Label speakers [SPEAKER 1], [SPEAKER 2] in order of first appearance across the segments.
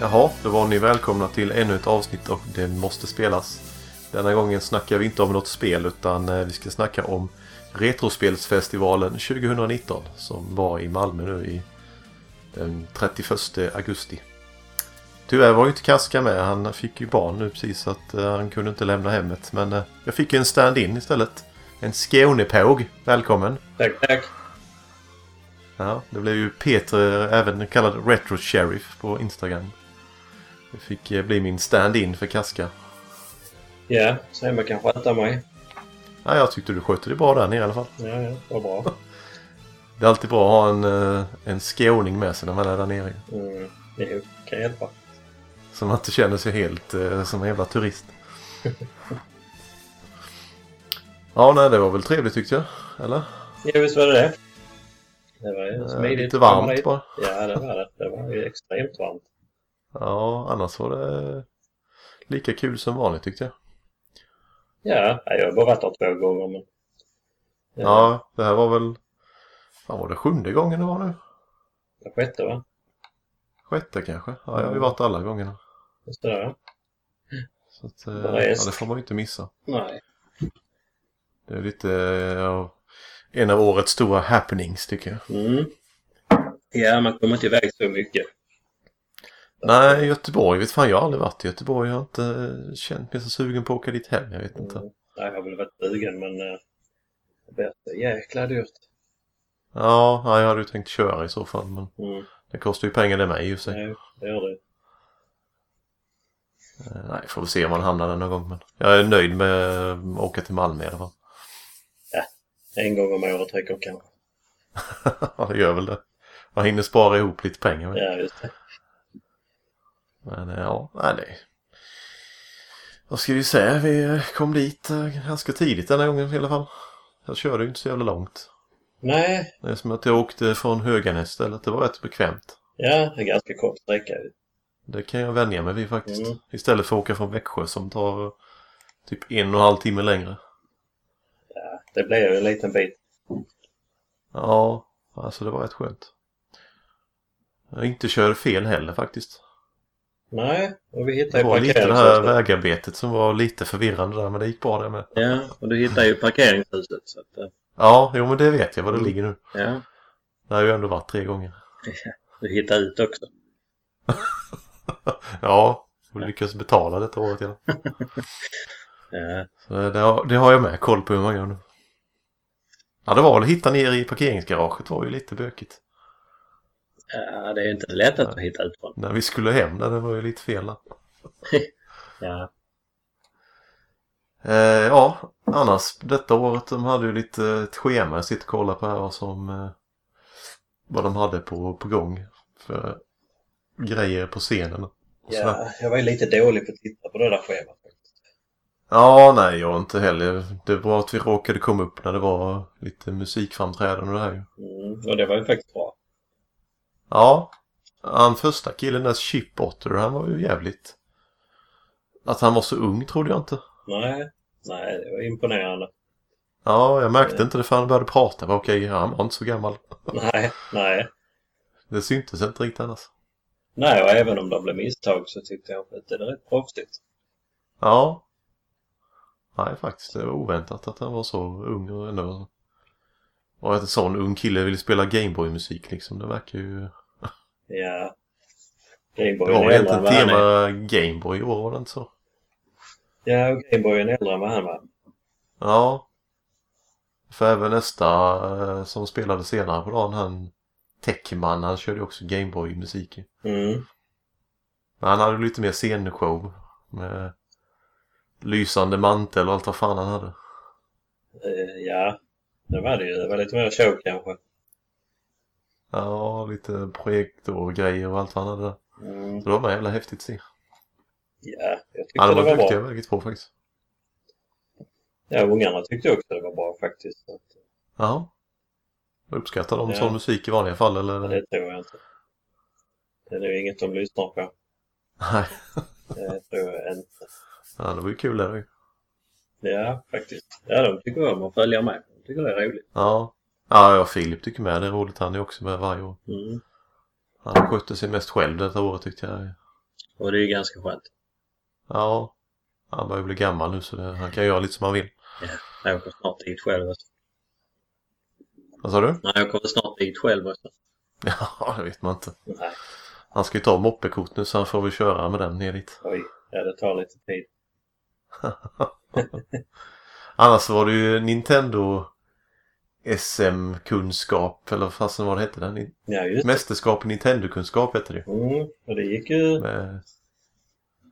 [SPEAKER 1] Jaha, då var ni välkomna till ännu ett avsnitt och det måste spelas. Denna gången snackar vi inte om något spel utan eh, vi ska snacka om Retrospelsfestivalen 2019 som var i Malmö nu i den 31 augusti. Tyvärr var ju inte Kaska med, han fick ju barn nu precis så att eh, han kunde inte lämna hemmet. Men eh, jag fick ju en stand-in istället. En Skånepåg, välkommen!
[SPEAKER 2] Tack, tack.
[SPEAKER 1] Ja, det blev ju Peter, eh, även kallad Retro Sheriff på Instagram. Det fick eh, bli min stand-in för Kaska.
[SPEAKER 2] Ja, se man kan sköta mig.
[SPEAKER 1] Ja, jag tyckte du skötte dig bra där nere i alla fall.
[SPEAKER 2] Ja, ja, vad bra.
[SPEAKER 1] Det är alltid bra att ha en, eh, en skåning med sig när man är där nere.
[SPEAKER 2] Mm, jo, kan hjälpa.
[SPEAKER 1] Så man inte känner sig helt eh, som en jävla turist. Ja, nej, det var väl trevligt tyckte jag. Eller?
[SPEAKER 2] Ja, visst var det det. Det var ju
[SPEAKER 1] Eh,
[SPEAKER 2] smidigt.
[SPEAKER 1] Lite
[SPEAKER 2] Kom
[SPEAKER 1] varmt
[SPEAKER 2] dit.
[SPEAKER 1] bara.
[SPEAKER 2] Ja, det var det. Det var ju extremt varmt.
[SPEAKER 1] Ja, annars var det eh, lika kul som vanligt tyckte jag.
[SPEAKER 2] Ja, nej, jag har bara varit där två gånger, men... Ja.
[SPEAKER 1] Ja, det här var väl... Fan, var det sjunde gången det var nu?
[SPEAKER 2] Det sjätte, va?
[SPEAKER 1] Sjätte kanske? Ja, jag har ju varit alla gångerna.
[SPEAKER 2] Just det, där, va?
[SPEAKER 1] Så att, eh,
[SPEAKER 2] Bara
[SPEAKER 1] ja,
[SPEAKER 2] gäst.
[SPEAKER 1] det får man ju inte missa.
[SPEAKER 2] Nej.
[SPEAKER 1] Det är lite eh, ja, en av årets stora happenings tycker jag.
[SPEAKER 2] Mm. Ja, man kommer inte iväg så mycket.
[SPEAKER 1] Nej, Göteborg vet fan, jag har aldrig varit i Göteborg. Jag har inte eh, känt mig så sugen på att åka dit hem. Jag vet inte.
[SPEAKER 2] Mm. Nej, jag har väl varit sugen, men... eh, Det blir så jäkla dyrt.
[SPEAKER 1] Ja, ja, jag hade ju tänkt köra i så fall. Men
[SPEAKER 2] Mm.
[SPEAKER 1] det kostar ju pengar det med i och för sig.
[SPEAKER 2] Nej, det gör det.
[SPEAKER 1] Eh, Nej, får vi se om man hamnar där någon gång. Men jag är nöjd med eh, att åka till Malmö i alla fall.
[SPEAKER 2] En gång om året räcker kanske.
[SPEAKER 1] ja, det gör väl det. Man hinner spara ihop lite pengar. Men,
[SPEAKER 2] Ja, just det.
[SPEAKER 1] men eh, ja, nej, det... Vad ska vi säga? Vi eh, kom dit eh, ganska tidigt den här gången i alla fall. Jag körde ju inte så jävla långt.
[SPEAKER 2] Nej,
[SPEAKER 1] Det är som att jag åkte från Höganäs istället. Det var rätt bekvämt.
[SPEAKER 2] Ja, en ganska kort sträcka. ju.
[SPEAKER 1] Det kan jag vänja mig vid faktiskt.
[SPEAKER 2] Mm.
[SPEAKER 1] Istället för att åka från Växjö som tar eh, typ en och en halv timme längre.
[SPEAKER 2] Det blev ju en liten bit.
[SPEAKER 1] Ja, alltså det var rätt skönt. Jag inte körde fel heller faktiskt.
[SPEAKER 2] Nej, och vi hittade
[SPEAKER 1] Det
[SPEAKER 2] ju
[SPEAKER 1] var lite det här
[SPEAKER 2] parkeringshuset.
[SPEAKER 1] vägarbetet som var lite förvirrande där, men det gick bra det med.
[SPEAKER 2] Ja, och du hittade ju parkeringshuset. Så att, eh,
[SPEAKER 1] Ja, jo men det vet jag var det
[SPEAKER 2] Mm.
[SPEAKER 1] ligger nu.
[SPEAKER 2] ja,
[SPEAKER 1] Det har ju ändå varit tre gånger.
[SPEAKER 2] du hittade ut också.
[SPEAKER 1] Ja, och lyckas betala detta året igen.
[SPEAKER 2] Ja,
[SPEAKER 1] Så det, har, det har jag med koll på hur man gör nu. Ja, det var väl att hitta ner i parkeringsgaraget var ju lite bökigt.
[SPEAKER 2] ja det är ju inte lätt att hitta ut från.
[SPEAKER 1] När vi skulle hem där, det var ju lite fel där.
[SPEAKER 2] Ja,
[SPEAKER 1] Eh, ja, annars detta året de hade ju lite eh, ett schema. Jag sitter och kollar på här vad som eh, vad de hade på, på gång för grejer på scenen. Och sådär.
[SPEAKER 2] ja, jag var ju lite dålig på att titta på det där schemat.
[SPEAKER 1] ja, nej jag inte heller. Det var att vi råkade komma upp när det var lite musikframträdanden och det här ju.
[SPEAKER 2] Mm, och det var ju faktiskt bra.
[SPEAKER 1] Ja, han första killen där Chip Otter, han var ju jävligt... Att han var så ung trodde jag inte.
[SPEAKER 2] Nej, nej, det var imponerande.
[SPEAKER 1] Ja, jag märkte
[SPEAKER 2] Nej.
[SPEAKER 1] inte det förrän han började prata. Jag bara, Okej, han var inte så gammal.
[SPEAKER 2] Nej, nej.
[SPEAKER 1] Det syntes inte riktigt annars.
[SPEAKER 2] Nej, och även om det blev misstag så tyckte jag att det var rätt proffsigt.
[SPEAKER 1] Ja. Nej, faktiskt. Det var oväntat att han var så ung och ändå... Och att en sån ung kille ville spela Gameboy-musik liksom. Det verkar ju...
[SPEAKER 2] Ja.
[SPEAKER 1] Det
[SPEAKER 2] Gameboyen
[SPEAKER 1] var
[SPEAKER 2] är
[SPEAKER 1] väl
[SPEAKER 2] äldre än
[SPEAKER 1] egentligen
[SPEAKER 2] vad han är.
[SPEAKER 1] tema Gameboy i år, var det inte så?
[SPEAKER 2] Ja, och Gameboyen är äldre än vad han var.
[SPEAKER 1] Ja. För även nästa eh, som spelade senare på dagen, han Techman, han körde ju också Gameboy-musik. ju.
[SPEAKER 2] Mm.
[SPEAKER 1] Men han hade lite mer scenshow med lysande mantel och allt vad fan han hade.
[SPEAKER 2] Eh, ja, det var det ju. Det var lite mer show kanske.
[SPEAKER 1] Ja, lite projektorgrejer och allt vad han hade.
[SPEAKER 2] Mm,
[SPEAKER 1] Så det var jävla häftigt att se.
[SPEAKER 2] ja, jag tyckte
[SPEAKER 1] Ja, de
[SPEAKER 2] det
[SPEAKER 1] var
[SPEAKER 2] var
[SPEAKER 1] duktiga
[SPEAKER 2] bra.
[SPEAKER 1] bägge två faktiskt.
[SPEAKER 2] Ja, ungarna tyckte också det var bra faktiskt. Så att,
[SPEAKER 1] Ja. Uppskattar de
[SPEAKER 2] Ja.
[SPEAKER 1] sån musik i vanliga fall eller?
[SPEAKER 2] ja, det tror jag inte. Det är nog inget de lyssnar på.
[SPEAKER 1] Nej.
[SPEAKER 2] Det tror jag inte.
[SPEAKER 1] Ja, det var ju kul det. var ju.
[SPEAKER 2] Ja, faktiskt. Ja, de tycker om att följa med. De tycker det är roligt.
[SPEAKER 1] Ja. Ja, jag och Filip tycker med. Det är roligt. Han är också med varje år.
[SPEAKER 2] Mm.
[SPEAKER 1] Han skötte sig mest själv detta året tyckte jag.
[SPEAKER 2] Och det är ju ganska skönt.
[SPEAKER 1] Ja, han börjar bli gammal nu så det, han kan göra lite som han vill.
[SPEAKER 2] Jag åker snart dit själv också.
[SPEAKER 1] Vad sa du?
[SPEAKER 2] Nej, jag kommer snart dit själv också.
[SPEAKER 1] Ja, det vet man inte.
[SPEAKER 2] Nej,
[SPEAKER 1] Han ska ju ta moppekort nu så han får väl köra med den ner dit.
[SPEAKER 2] oj. Ja, det tar lite tid.
[SPEAKER 1] Annars var det ju Nintendo SM-kunskap eller vad fasen var det hette den? Ni-
[SPEAKER 2] Ja, just det.
[SPEAKER 1] Mästerskap i Nintendo-kunskap hette det ju.
[SPEAKER 2] Mm, och det gick ju
[SPEAKER 1] Men-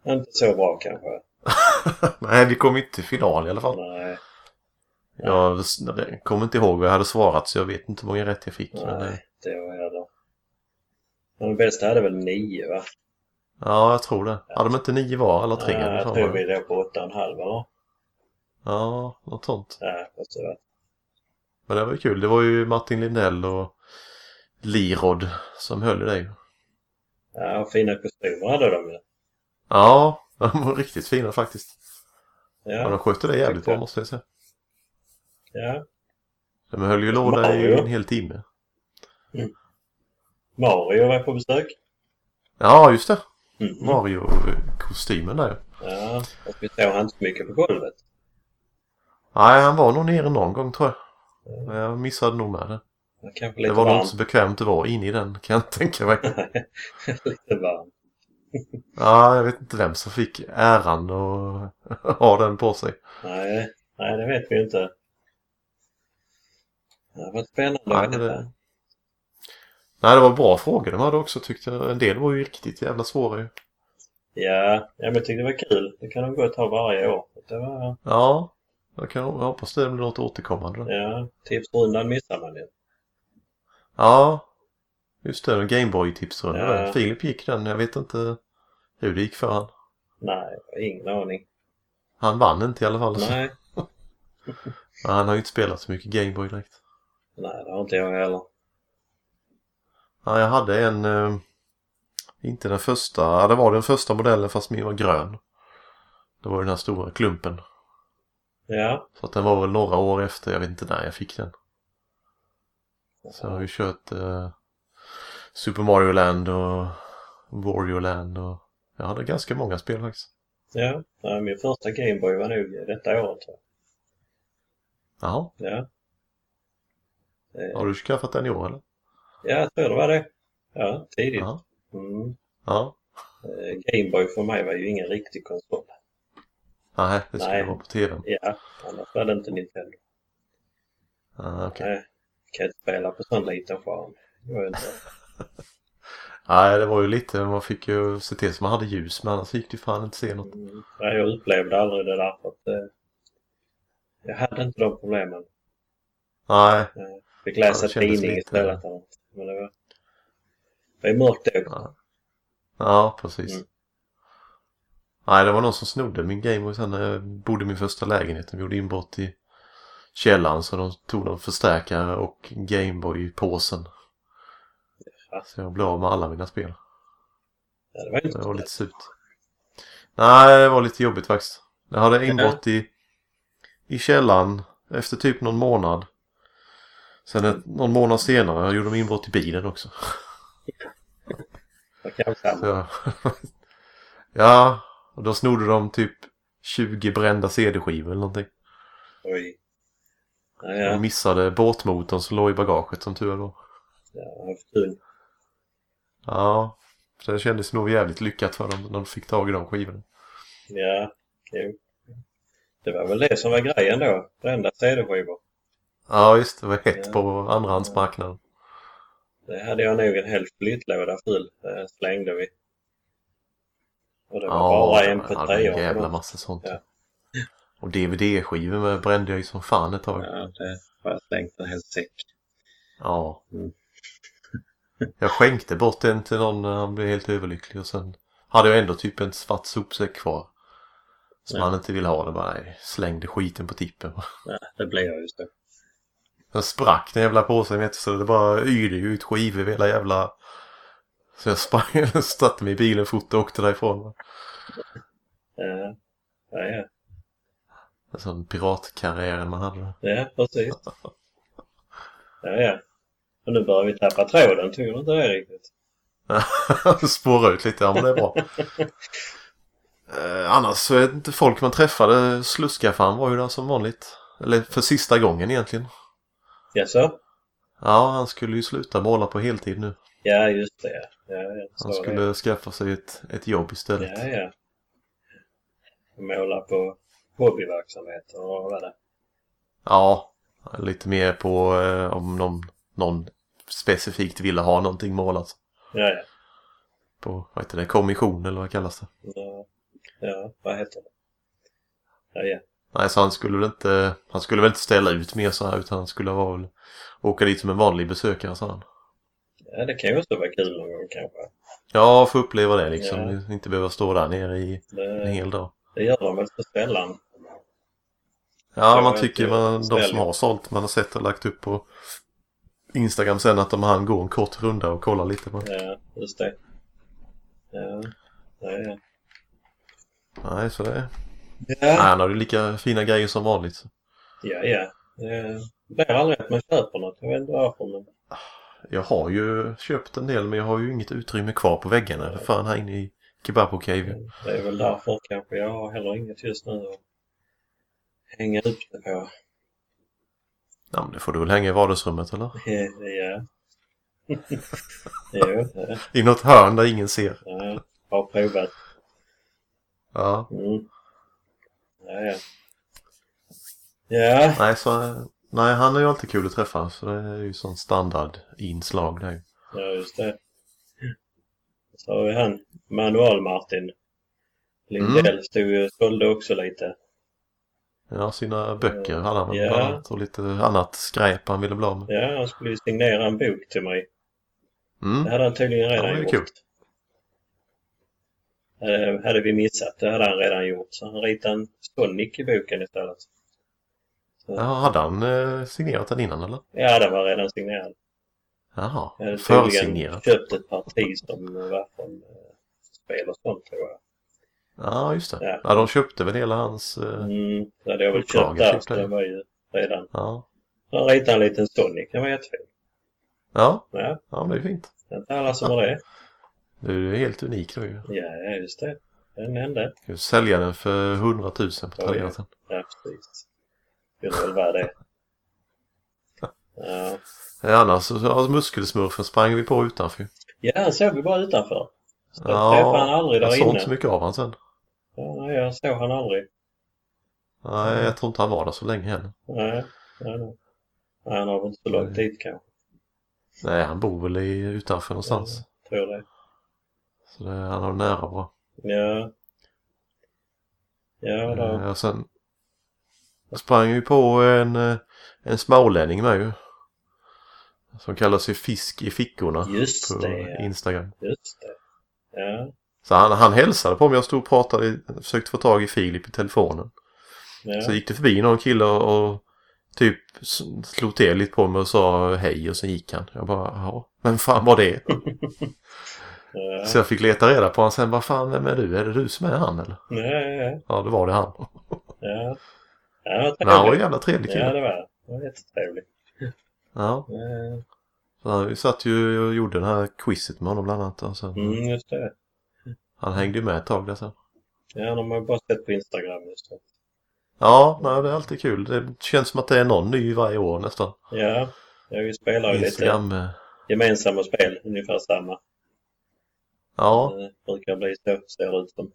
[SPEAKER 2] inte så bra kanske.
[SPEAKER 1] Nej, vi kom inte till final i alla fall.
[SPEAKER 2] Nej,
[SPEAKER 1] Jag s- kommer inte ihåg vad jag hade svarat så jag vet inte hur många rätt jag fick. Men, eh,
[SPEAKER 2] nej, det var heller. Men den bästa hade väl nio, va?
[SPEAKER 1] ja, jag tror det. Hade de inte nio var eller tre?
[SPEAKER 2] Ja,
[SPEAKER 1] eller
[SPEAKER 2] jag
[SPEAKER 1] vad
[SPEAKER 2] tror
[SPEAKER 1] fan var det?
[SPEAKER 2] vi låg på åtta och en halv, eller?
[SPEAKER 1] Ja, något sånt.
[SPEAKER 2] Ja, alltså, fast det var-
[SPEAKER 1] Men det var ju kul. Det var ju Martin Lindell och Lirod som höll i det ju.
[SPEAKER 2] ja, och fina kostymer hade de ju.
[SPEAKER 1] Ja, de var riktigt fina faktiskt. Ja, de
[SPEAKER 2] Ja,
[SPEAKER 1] skötte det jävligt
[SPEAKER 2] tyckte
[SPEAKER 1] bra
[SPEAKER 2] jag.
[SPEAKER 1] måste jag säga.
[SPEAKER 2] ja.
[SPEAKER 1] De höll ju låda i
[SPEAKER 2] Mario.
[SPEAKER 1] en hel timme.
[SPEAKER 2] Mario var på besök.
[SPEAKER 1] Ja, just det.
[SPEAKER 2] Mm.
[SPEAKER 1] Mario-kostymen där ju.
[SPEAKER 2] Ja, och vi såg han inte så mycket på golvet.
[SPEAKER 1] Nej, han var nog nere någon gång tror jag. Men jag missade nog med det.
[SPEAKER 2] Det var kanske
[SPEAKER 1] Det
[SPEAKER 2] lite
[SPEAKER 1] var nog inte
[SPEAKER 2] varmt.
[SPEAKER 1] så bekvämt att vara inne i den kan jag tänka mig.
[SPEAKER 2] lite varmt.
[SPEAKER 1] Ja, jag vet inte vem som fick äran att ha den på sig.
[SPEAKER 2] Nej, nej, det vet vi ju inte. Det var spännande.
[SPEAKER 1] Nej, men det... Nej, det var bra frågor de hade också tyckte jag. En del var ju riktigt jävla svåra ju.
[SPEAKER 2] Ja, ja, men jag tyckte det var kul. Det kan de gott ha varje år. Det var,
[SPEAKER 1] Ja, jag, kan, jag hoppas det blir något återkommande. då.
[SPEAKER 2] ja, tipsrundan missar man ju.
[SPEAKER 1] Ja, just det. en Gameboy-tipsrunda.
[SPEAKER 2] Ja.
[SPEAKER 1] där. Filip gick den. Jag vet inte hur det gick för han.
[SPEAKER 2] Nej, jag har ingen aning.
[SPEAKER 1] Han vann inte i alla fall. så-
[SPEAKER 2] Nej,
[SPEAKER 1] Men Han har ju inte spelat så mycket Gameboy direkt.
[SPEAKER 2] nej, det har inte jag heller.
[SPEAKER 1] Ja, jag hade en... Eh, inte den första. Ja, det var den första modellen fast min var grön. Det var ju den här stora klumpen.
[SPEAKER 2] Ja,
[SPEAKER 1] Så att den var väl några år efter. Jag vet inte när jag fick den. Så jag har ju kört eh, Super Mario Land och Wario Land och... Jag hade ganska många spel faktiskt.
[SPEAKER 2] ja. Nej, min första Gameboy var nog detta året. tror
[SPEAKER 1] Jaha,
[SPEAKER 2] jag. Ja. Eh,
[SPEAKER 1] har du skaffat den i år eller?
[SPEAKER 2] Ja, jag tror det var det. Ja, tidigt.
[SPEAKER 1] Ja.
[SPEAKER 2] Mm.
[SPEAKER 1] Ja.
[SPEAKER 2] Eh, Gameboy för mig var ju ingen riktig konsol.
[SPEAKER 1] Nej, det skulle
[SPEAKER 2] Nej.
[SPEAKER 1] vara på tvn.
[SPEAKER 2] Ja, annars var det inte Nintendo.
[SPEAKER 1] Ah, okej.
[SPEAKER 2] Nej, kan inte spela på sån liten skärm. Det var ju inte-
[SPEAKER 1] Nej, det var ju lite. Man fick ju se till så man hade ljus men annars gick det ju fan inte se något.
[SPEAKER 2] Mm. Nej, jag upplevde aldrig det där för att eh, jag hade inte de problemen.
[SPEAKER 1] Nej,
[SPEAKER 2] Fick
[SPEAKER 1] Ja,
[SPEAKER 2] läsa
[SPEAKER 1] det kändes
[SPEAKER 2] tidning
[SPEAKER 1] lite-
[SPEAKER 2] istället. eller något. Men det var, det var ju mörkt då.
[SPEAKER 1] Ja, ja precis.
[SPEAKER 2] Mm.
[SPEAKER 1] Nej, det var någon som snodde min Gameboy sen när jag bodde i min första lägenhet. De gjorde inbrott i källaren så de tog någon förstärkare och Gameboy-påsen.
[SPEAKER 2] Ja.
[SPEAKER 1] Så jag blev av med alla mina spel.
[SPEAKER 2] Ja, det var inte
[SPEAKER 1] Det
[SPEAKER 2] så
[SPEAKER 1] var
[SPEAKER 2] lätt.
[SPEAKER 1] lite surt. Nej, det var lite jobbigt faktiskt. Jag hade inbrott i, i källaren efter typ någon månad. Sen en, någon månad senare gjorde de inbrott i bilen också.
[SPEAKER 2] Det kan jag säga.
[SPEAKER 1] Så. ja, och då snodde de typ 20 brända CD-skivor eller någonting.
[SPEAKER 2] Oj. Ja,
[SPEAKER 1] Och
[SPEAKER 2] ja.
[SPEAKER 1] missade båtmotorn som låg i bagaget som tur var.
[SPEAKER 2] ja det var för kul.
[SPEAKER 1] Ja, så det kändes nog jävligt lyckat för dem när de fick tag i de skivorna.
[SPEAKER 2] Ja, jo. Det var väl det som var grejen då. Brända CD-skivor.
[SPEAKER 1] Ja, just det. var hett
[SPEAKER 2] Ja.
[SPEAKER 1] på andrahandsmarknaden.
[SPEAKER 2] Det hade jag nog en hel flyttlåda full. Det slängde vi. Och det var bara
[SPEAKER 1] Ja, jag hade en
[SPEAKER 2] mp3
[SPEAKER 1] jävla massa sånt.
[SPEAKER 2] Ja.
[SPEAKER 1] Och DVD-skivor med brände jag ju som fan ett tag.
[SPEAKER 2] Ja, det har jag slängt en hel säck.
[SPEAKER 1] Ja.
[SPEAKER 2] Mm.
[SPEAKER 1] Jag skänkte bort den till någon när han blev helt överlycklig och sen hade jag ändå typ en svart sopsäck kvar. Som
[SPEAKER 2] Ja.
[SPEAKER 1] han inte ville ha. Det bara nej, slängde skiten på tippen.
[SPEAKER 2] Ja, det blev jag just det.
[SPEAKER 1] Den sprack den jävla påsen vet du, så det bara yrde ju ut skivor över hela jävla... Så jag sprang, satte mig i bilen fort och åkte därifrån.
[SPEAKER 2] Ja, ja, ja.
[SPEAKER 1] En sån piratkarriär man hade.
[SPEAKER 2] ja precis. Ja, ja. Och nu börjar vi tappa tråden, tycker du inte det riktigt?
[SPEAKER 1] Spåra ut lite, ja men det är bra. Eh, annars så är det inte folk man träffade. Sluskaffan var ju där som vanligt. Eller för sista gången egentligen.
[SPEAKER 2] Jaså?
[SPEAKER 1] Ja, han skulle ju sluta måla på heltid nu.
[SPEAKER 2] Ja, just det. Ja, jag
[SPEAKER 1] Han
[SPEAKER 2] såg
[SPEAKER 1] skulle skaffa sig ett, ett jobb
[SPEAKER 2] det.
[SPEAKER 1] istället.
[SPEAKER 2] Ja, ja. Måla på hobbyverksamhet och vad var det?
[SPEAKER 1] Ja, lite mer på eh, om någon, någon specifikt ville ha någonting målat.
[SPEAKER 2] Ja, ja.
[SPEAKER 1] På, vad heter det, kommission eller vad kallas det?
[SPEAKER 2] Ja, ja vad heter det? Ja, ja.
[SPEAKER 1] Nej, så han skulle väl inte, han skulle väl inte ställa ut mer så här utan han skulle vara väl, åka dit som en vanlig besökare sa han.
[SPEAKER 2] ja, det kan ju också vara kul någon gång kanske.
[SPEAKER 1] Ja, få uppleva det liksom.
[SPEAKER 2] Ja.
[SPEAKER 1] Inte behöva stå där nere i en
[SPEAKER 2] Det,
[SPEAKER 1] hel dag.
[SPEAKER 2] det gör de väl så sällan.
[SPEAKER 1] Ja,
[SPEAKER 2] Jag
[SPEAKER 1] man
[SPEAKER 2] vet
[SPEAKER 1] tycker
[SPEAKER 2] ju,
[SPEAKER 1] man, de som
[SPEAKER 2] ställ-
[SPEAKER 1] har sålt, man har sett och lagt upp på Instagram sen att de han går en kort runda och kollar lite på.
[SPEAKER 2] Ja, just det. Ja, ja, ja.
[SPEAKER 1] Nej, så det är... Nej,
[SPEAKER 2] Ja,
[SPEAKER 1] han har ju lika fina grejer som vanligt.
[SPEAKER 2] ja. ja. Det blir aldrig att man köper något. Jag vet inte varför, men
[SPEAKER 1] Jag har ju köpt en del men jag har ju inget utrymme kvar på väggarna. För fan här inne i kebab och cave.
[SPEAKER 2] det är väl därför kanske. Jag har heller inget just nu att hänga upp det på.
[SPEAKER 1] Ja, men det får du väl hänga i vardagsrummet eller?
[SPEAKER 2] Ja. Jo, ja.
[SPEAKER 1] I något hörn där ingen ser.
[SPEAKER 2] ja. Har provat.
[SPEAKER 1] Ja.
[SPEAKER 2] Mm. Ja, ja. Ja,
[SPEAKER 1] Nej, så, nej han är ju alltid kul att träffa. Så det är ju sån standardinslag där ju.
[SPEAKER 2] ja just det. Så har vi han, Manual-Martin. Lindell
[SPEAKER 1] Mm.
[SPEAKER 2] stod ju och sålde också lite.
[SPEAKER 1] Ja, sina böcker hade han väl
[SPEAKER 2] Ja.
[SPEAKER 1] bland annat, och lite annat skräp han ville bli av med.
[SPEAKER 2] Ja, han skulle ju signera en bok till mig. Det
[SPEAKER 1] Mm.
[SPEAKER 2] hade han tydligen
[SPEAKER 1] Ja,
[SPEAKER 2] redan
[SPEAKER 1] det är
[SPEAKER 2] gjort.
[SPEAKER 1] kul.
[SPEAKER 2] Eh, hade vi missat, det hade han redan gjort. Så han ritade en Sonic i boken istället.
[SPEAKER 1] Ja, hade han eh, signerat den innan eller?
[SPEAKER 2] Ja, den var redan signerad.
[SPEAKER 1] Jaha,
[SPEAKER 2] Jag hade tydligen
[SPEAKER 1] Mm. försignerat.
[SPEAKER 2] Eh, köpt ett parti som var från eh, spel och sånt tror jag.
[SPEAKER 1] Ja, just det.
[SPEAKER 2] Ja.
[SPEAKER 1] Ja, de köpte väl hela hans... Eh,
[SPEAKER 2] Mm, det hade jag väl köpt
[SPEAKER 1] Upplaga
[SPEAKER 2] där,
[SPEAKER 1] typ
[SPEAKER 2] så
[SPEAKER 1] det.
[SPEAKER 2] det var ju redan...
[SPEAKER 1] ja.
[SPEAKER 2] Han ritade en liten Sonic, den var jättefin.
[SPEAKER 1] Ja,
[SPEAKER 2] Ja,
[SPEAKER 1] ja, men det är fint.
[SPEAKER 2] det är inte alla som har det.
[SPEAKER 1] Du är helt unik då ju.
[SPEAKER 2] Ja, just det. Den hände.
[SPEAKER 1] Du sälja den för 100 000 på Tradera sen.
[SPEAKER 2] Ja, precis. Skulle väl vara det. Ja,
[SPEAKER 1] Ja, Annars så ja, muskelsmurfen sprang vi på utanför ju.
[SPEAKER 2] ja han såg vi bara utanför. Så
[SPEAKER 1] Ja,
[SPEAKER 2] träffade han aldrig
[SPEAKER 1] Jag
[SPEAKER 2] där
[SPEAKER 1] såg
[SPEAKER 2] inne.
[SPEAKER 1] inte så mycket av han sen.
[SPEAKER 2] Ja, nej, jag såg han aldrig. Mm.
[SPEAKER 1] Nej, jag tror inte han var där så länge heller.
[SPEAKER 2] Nej, nej, nej. Nej, han har väl inte så långt dit kanske.
[SPEAKER 1] Nej, han bor väl i, utanför någonstans.
[SPEAKER 2] Tror det.
[SPEAKER 1] Så det, han har nära bra.
[SPEAKER 2] Ja. Ja, då.
[SPEAKER 1] Eh, och sen jag sprang ju på en, eh, en smålänning med ju. Som kallar sig Fisk i fickorna på
[SPEAKER 2] Just det, ja.
[SPEAKER 1] Instagram.
[SPEAKER 2] Just det. Ja,
[SPEAKER 1] Så han, han hälsade på mig. Jag stod och pratade, i- försökte få tag i Filip i telefonen.
[SPEAKER 2] ja.
[SPEAKER 1] Så gick det förbi någon kille och, och typ s- slog till lite på mig och sa hej och sen gick han. Jag bara, jaha, vem fan var det?
[SPEAKER 2] ja.
[SPEAKER 1] Så jag fick leta reda på honom sen. Vad fan, vem är du? Är det du som är han eller?
[SPEAKER 2] Ja, ja,
[SPEAKER 1] Ja, det var det han.
[SPEAKER 2] ja. Ja, vad
[SPEAKER 1] Men han var en
[SPEAKER 2] trevligt.
[SPEAKER 1] jävla trevlig
[SPEAKER 2] Ja,
[SPEAKER 1] kille.
[SPEAKER 2] det var det. Det var jättetrevligt.
[SPEAKER 1] Ja.
[SPEAKER 2] Ja.
[SPEAKER 1] Så han- vi satt ju och gjorde det här quizet med honom bland annat. Och sen,
[SPEAKER 2] Mm, just det.
[SPEAKER 1] Han hängde ju med ett tag där sen.
[SPEAKER 2] Ja, de har ju bara sett på Instagram just det.
[SPEAKER 1] Ja, nej, det är alltid kul. Det känns som att det är någon ny varje år nästan.
[SPEAKER 2] Ja, ja vi spelar ju lite
[SPEAKER 1] Instagram. eh,
[SPEAKER 2] gemensamma spel, ungefär samma.
[SPEAKER 1] Ja,
[SPEAKER 2] Det brukar bli så, ser det ut som.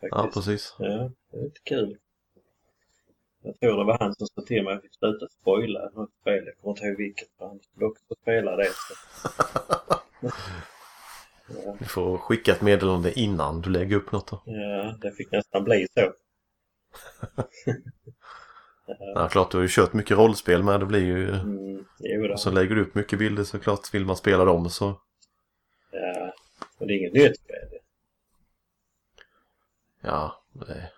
[SPEAKER 1] ja
[SPEAKER 2] Faktiskt.
[SPEAKER 1] precis.
[SPEAKER 2] Ja, det är lite kul. Jag tror det var han som sa till mig att jag fick sluta spoila något spel. Jag kommer inte ihåg vilket, för han skulle också spela det. Så.
[SPEAKER 1] Du får skicka ett meddelande innan du lägger upp något. Då.
[SPEAKER 2] Ja, det fick nästan bli så.
[SPEAKER 1] Ja, klart, du har ju kört mycket rollspel med. Det blir ju...
[SPEAKER 2] Mm, jo då.
[SPEAKER 1] Och så lägger du upp mycket bilder såklart. Vill man spela dem så...
[SPEAKER 2] Ja, och det är inget nytt spel.
[SPEAKER 1] Ja, det...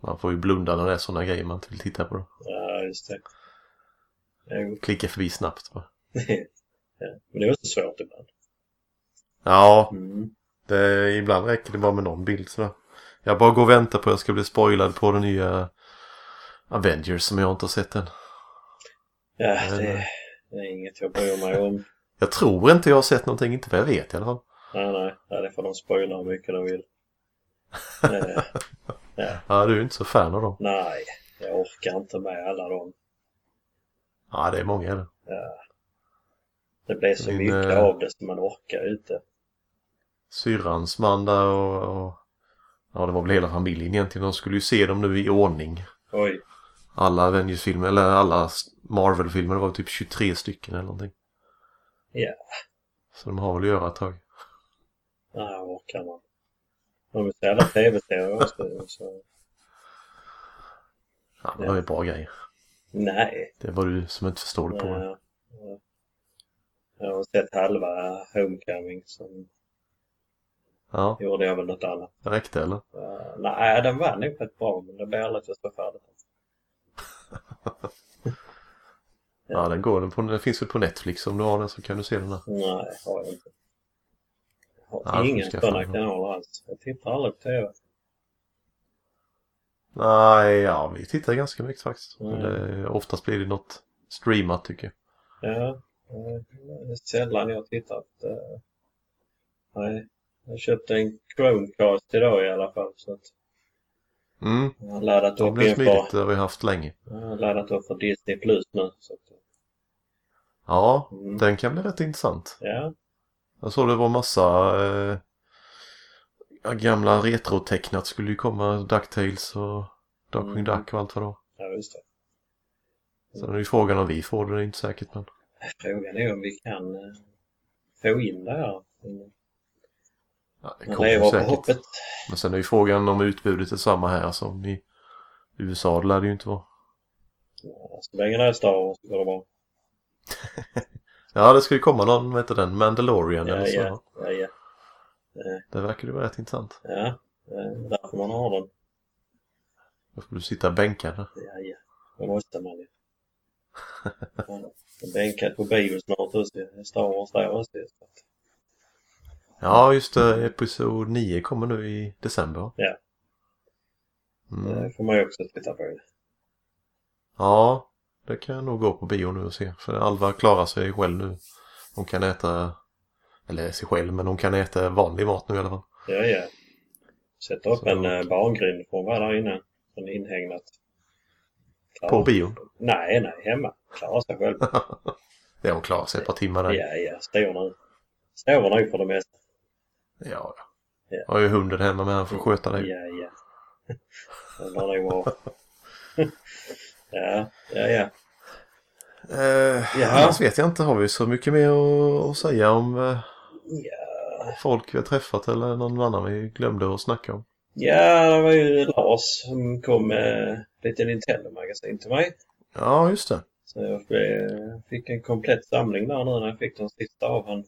[SPEAKER 1] Man får ju blunda när det är sådana grejer man inte vill titta på. Då.
[SPEAKER 2] Ja, just det. Jo,
[SPEAKER 1] Klicka förbi snabbt bara.
[SPEAKER 2] ja. Men det är också svårt ibland.
[SPEAKER 1] Ja,
[SPEAKER 2] Mm.
[SPEAKER 1] Det, ibland räcker det bara med någon bild sådär. Jag bara går och väntar på att jag ska bli spoilad på den nya Avengers som jag inte har sett än.
[SPEAKER 2] Ja, det, det är inget jag bryr mig om.
[SPEAKER 1] Jag tror inte jag har sett någonting, inte vad jag vet i alla fall.
[SPEAKER 2] Nej, nej, nej det får de spoila hur mycket de vill. Eh,
[SPEAKER 1] Ja, du är inte så fan av dem.
[SPEAKER 2] nej, jag orkar inte med alla dem.
[SPEAKER 1] Ja, det är många är det.
[SPEAKER 2] Det blir så
[SPEAKER 1] Min,
[SPEAKER 2] mycket
[SPEAKER 1] eh,
[SPEAKER 2] av det som man orkar inte.
[SPEAKER 1] Syrrans man där och, och... Ja, det var väl hela familjen egentligen. De skulle ju se dem nu i ordning.
[SPEAKER 2] Oj,
[SPEAKER 1] Alla Avengers-filmer, eller alla s- Marvel-filmer, det var typ 23 stycken eller någonting.
[SPEAKER 2] Ja.
[SPEAKER 1] Så de har väl att göra ett tag.
[SPEAKER 2] nej, orkar man. De vill se alla tv-serier också. Så.
[SPEAKER 1] Ja, men det är bra grejer.
[SPEAKER 2] Nej.
[SPEAKER 1] Det var du som inte förstår det på. det.
[SPEAKER 2] nej. Jag har sett halva Homecoming, sen
[SPEAKER 1] Ja,
[SPEAKER 2] gjorde jag väl något annat.
[SPEAKER 1] det räckte eller?
[SPEAKER 2] Eh, nej, den var nog rätt bra, men det blir aldrig att jag står färdigt.
[SPEAKER 1] Ja, den går. Den, på, den finns väl på Netflix. Om du har den så kan du se den där.
[SPEAKER 2] Nej, har jag inte. Jag har
[SPEAKER 1] Nej,
[SPEAKER 2] inga
[SPEAKER 1] ska jag
[SPEAKER 2] sådana
[SPEAKER 1] fan-
[SPEAKER 2] kanaler alls. Jag tittar aldrig på TV.
[SPEAKER 1] Nej, ja, vi tittar ganska mycket faktiskt.
[SPEAKER 2] Mm.
[SPEAKER 1] Men det, oftast blir det något streamat tycker jag.
[SPEAKER 2] Ja, eh, det är sällan jag har tittat. eh. Nej, jag köpte en Chromecast idag i alla fall. Så att
[SPEAKER 1] Mm,
[SPEAKER 2] jag har laddat
[SPEAKER 1] det
[SPEAKER 2] upp
[SPEAKER 1] blir
[SPEAKER 2] inför,
[SPEAKER 1] smidigt. Det har vi haft länge.
[SPEAKER 2] jag har laddat upp för Disney Plus nu. Så att,
[SPEAKER 1] Ja,
[SPEAKER 2] mm.
[SPEAKER 1] den kan bli rätt intressant.
[SPEAKER 2] Ja,
[SPEAKER 1] Jag såg det var massa eh, ja, gamla retrotecknat skulle ju komma. DuckTales och Darkwing
[SPEAKER 2] Mm.
[SPEAKER 1] Duck och allt vad det var.
[SPEAKER 2] ja, just det.
[SPEAKER 1] Sen är ju frågan om vi får det, det är inte säkert men.
[SPEAKER 2] Frågan är om vi kan eh, få in det här. Mm.
[SPEAKER 1] Ja, det
[SPEAKER 2] Men
[SPEAKER 1] kommer
[SPEAKER 2] det
[SPEAKER 1] ju
[SPEAKER 2] var på
[SPEAKER 1] säkert.
[SPEAKER 2] hoppet.
[SPEAKER 1] Men sen är ju frågan om utbudet är samma här som i USA. Det lär det ju inte vara.
[SPEAKER 2] Ja, Så länge det är Star Wars går det bra.
[SPEAKER 1] Ja, det ska ju komma någon, vad heter den, Mandalorian
[SPEAKER 2] Ja,
[SPEAKER 1] eller så.
[SPEAKER 2] ja, ja, ja.
[SPEAKER 1] Det verkar ju vara rätt intressant.
[SPEAKER 2] ja. eh, Därför man har den.
[SPEAKER 1] Då får du sitta bänkad där.
[SPEAKER 2] Ja, ja. Det måste man ju. Ja, jag Bänkad på bio snart också. Det är Star Wars där också. Så att,
[SPEAKER 1] Ja, just det. Episod 9 kommer nu i december.
[SPEAKER 2] Ja.
[SPEAKER 1] Mm.
[SPEAKER 2] Det eh, får man ju också titta på.
[SPEAKER 1] Ja, det kan jag nog gå på bio nu och se. För Alva klarar sig själv nu. Hon kan äta, eller sig själv, men hon kan äta vanlig mat nu i alla fall.
[SPEAKER 2] Ja, ja. Sätt upp
[SPEAKER 1] Så-
[SPEAKER 2] en eh, barngrind får vara där inne. En inhägnat. Klar-
[SPEAKER 1] På bion.
[SPEAKER 2] Nej, nej. Hemma. Klarar sig själv.
[SPEAKER 1] Ja, hon klarar sig ett par timmar där.
[SPEAKER 2] Ja, ja. Står nu. Står nu för det mesta.
[SPEAKER 1] Ja, ja.
[SPEAKER 2] Ja.
[SPEAKER 1] Jag har ju hunden hemma med, han får sköta det.
[SPEAKER 2] Ja, ja. Den lär nog vara. Ja, ja, ja.
[SPEAKER 1] Eh,
[SPEAKER 2] Ja.
[SPEAKER 1] Annars vet jag inte, har vi så mycket mer att, att säga om eh,
[SPEAKER 2] Ja.
[SPEAKER 1] folk vi har träffat eller någon annan vi glömde att snacka om?
[SPEAKER 2] Ja, det var ju Lars som kom med lite Nintendo-magasin till mig.
[SPEAKER 1] Ja, just det.
[SPEAKER 2] Så jag blev- fick en komplett samling där nu när jag fick den sista av han.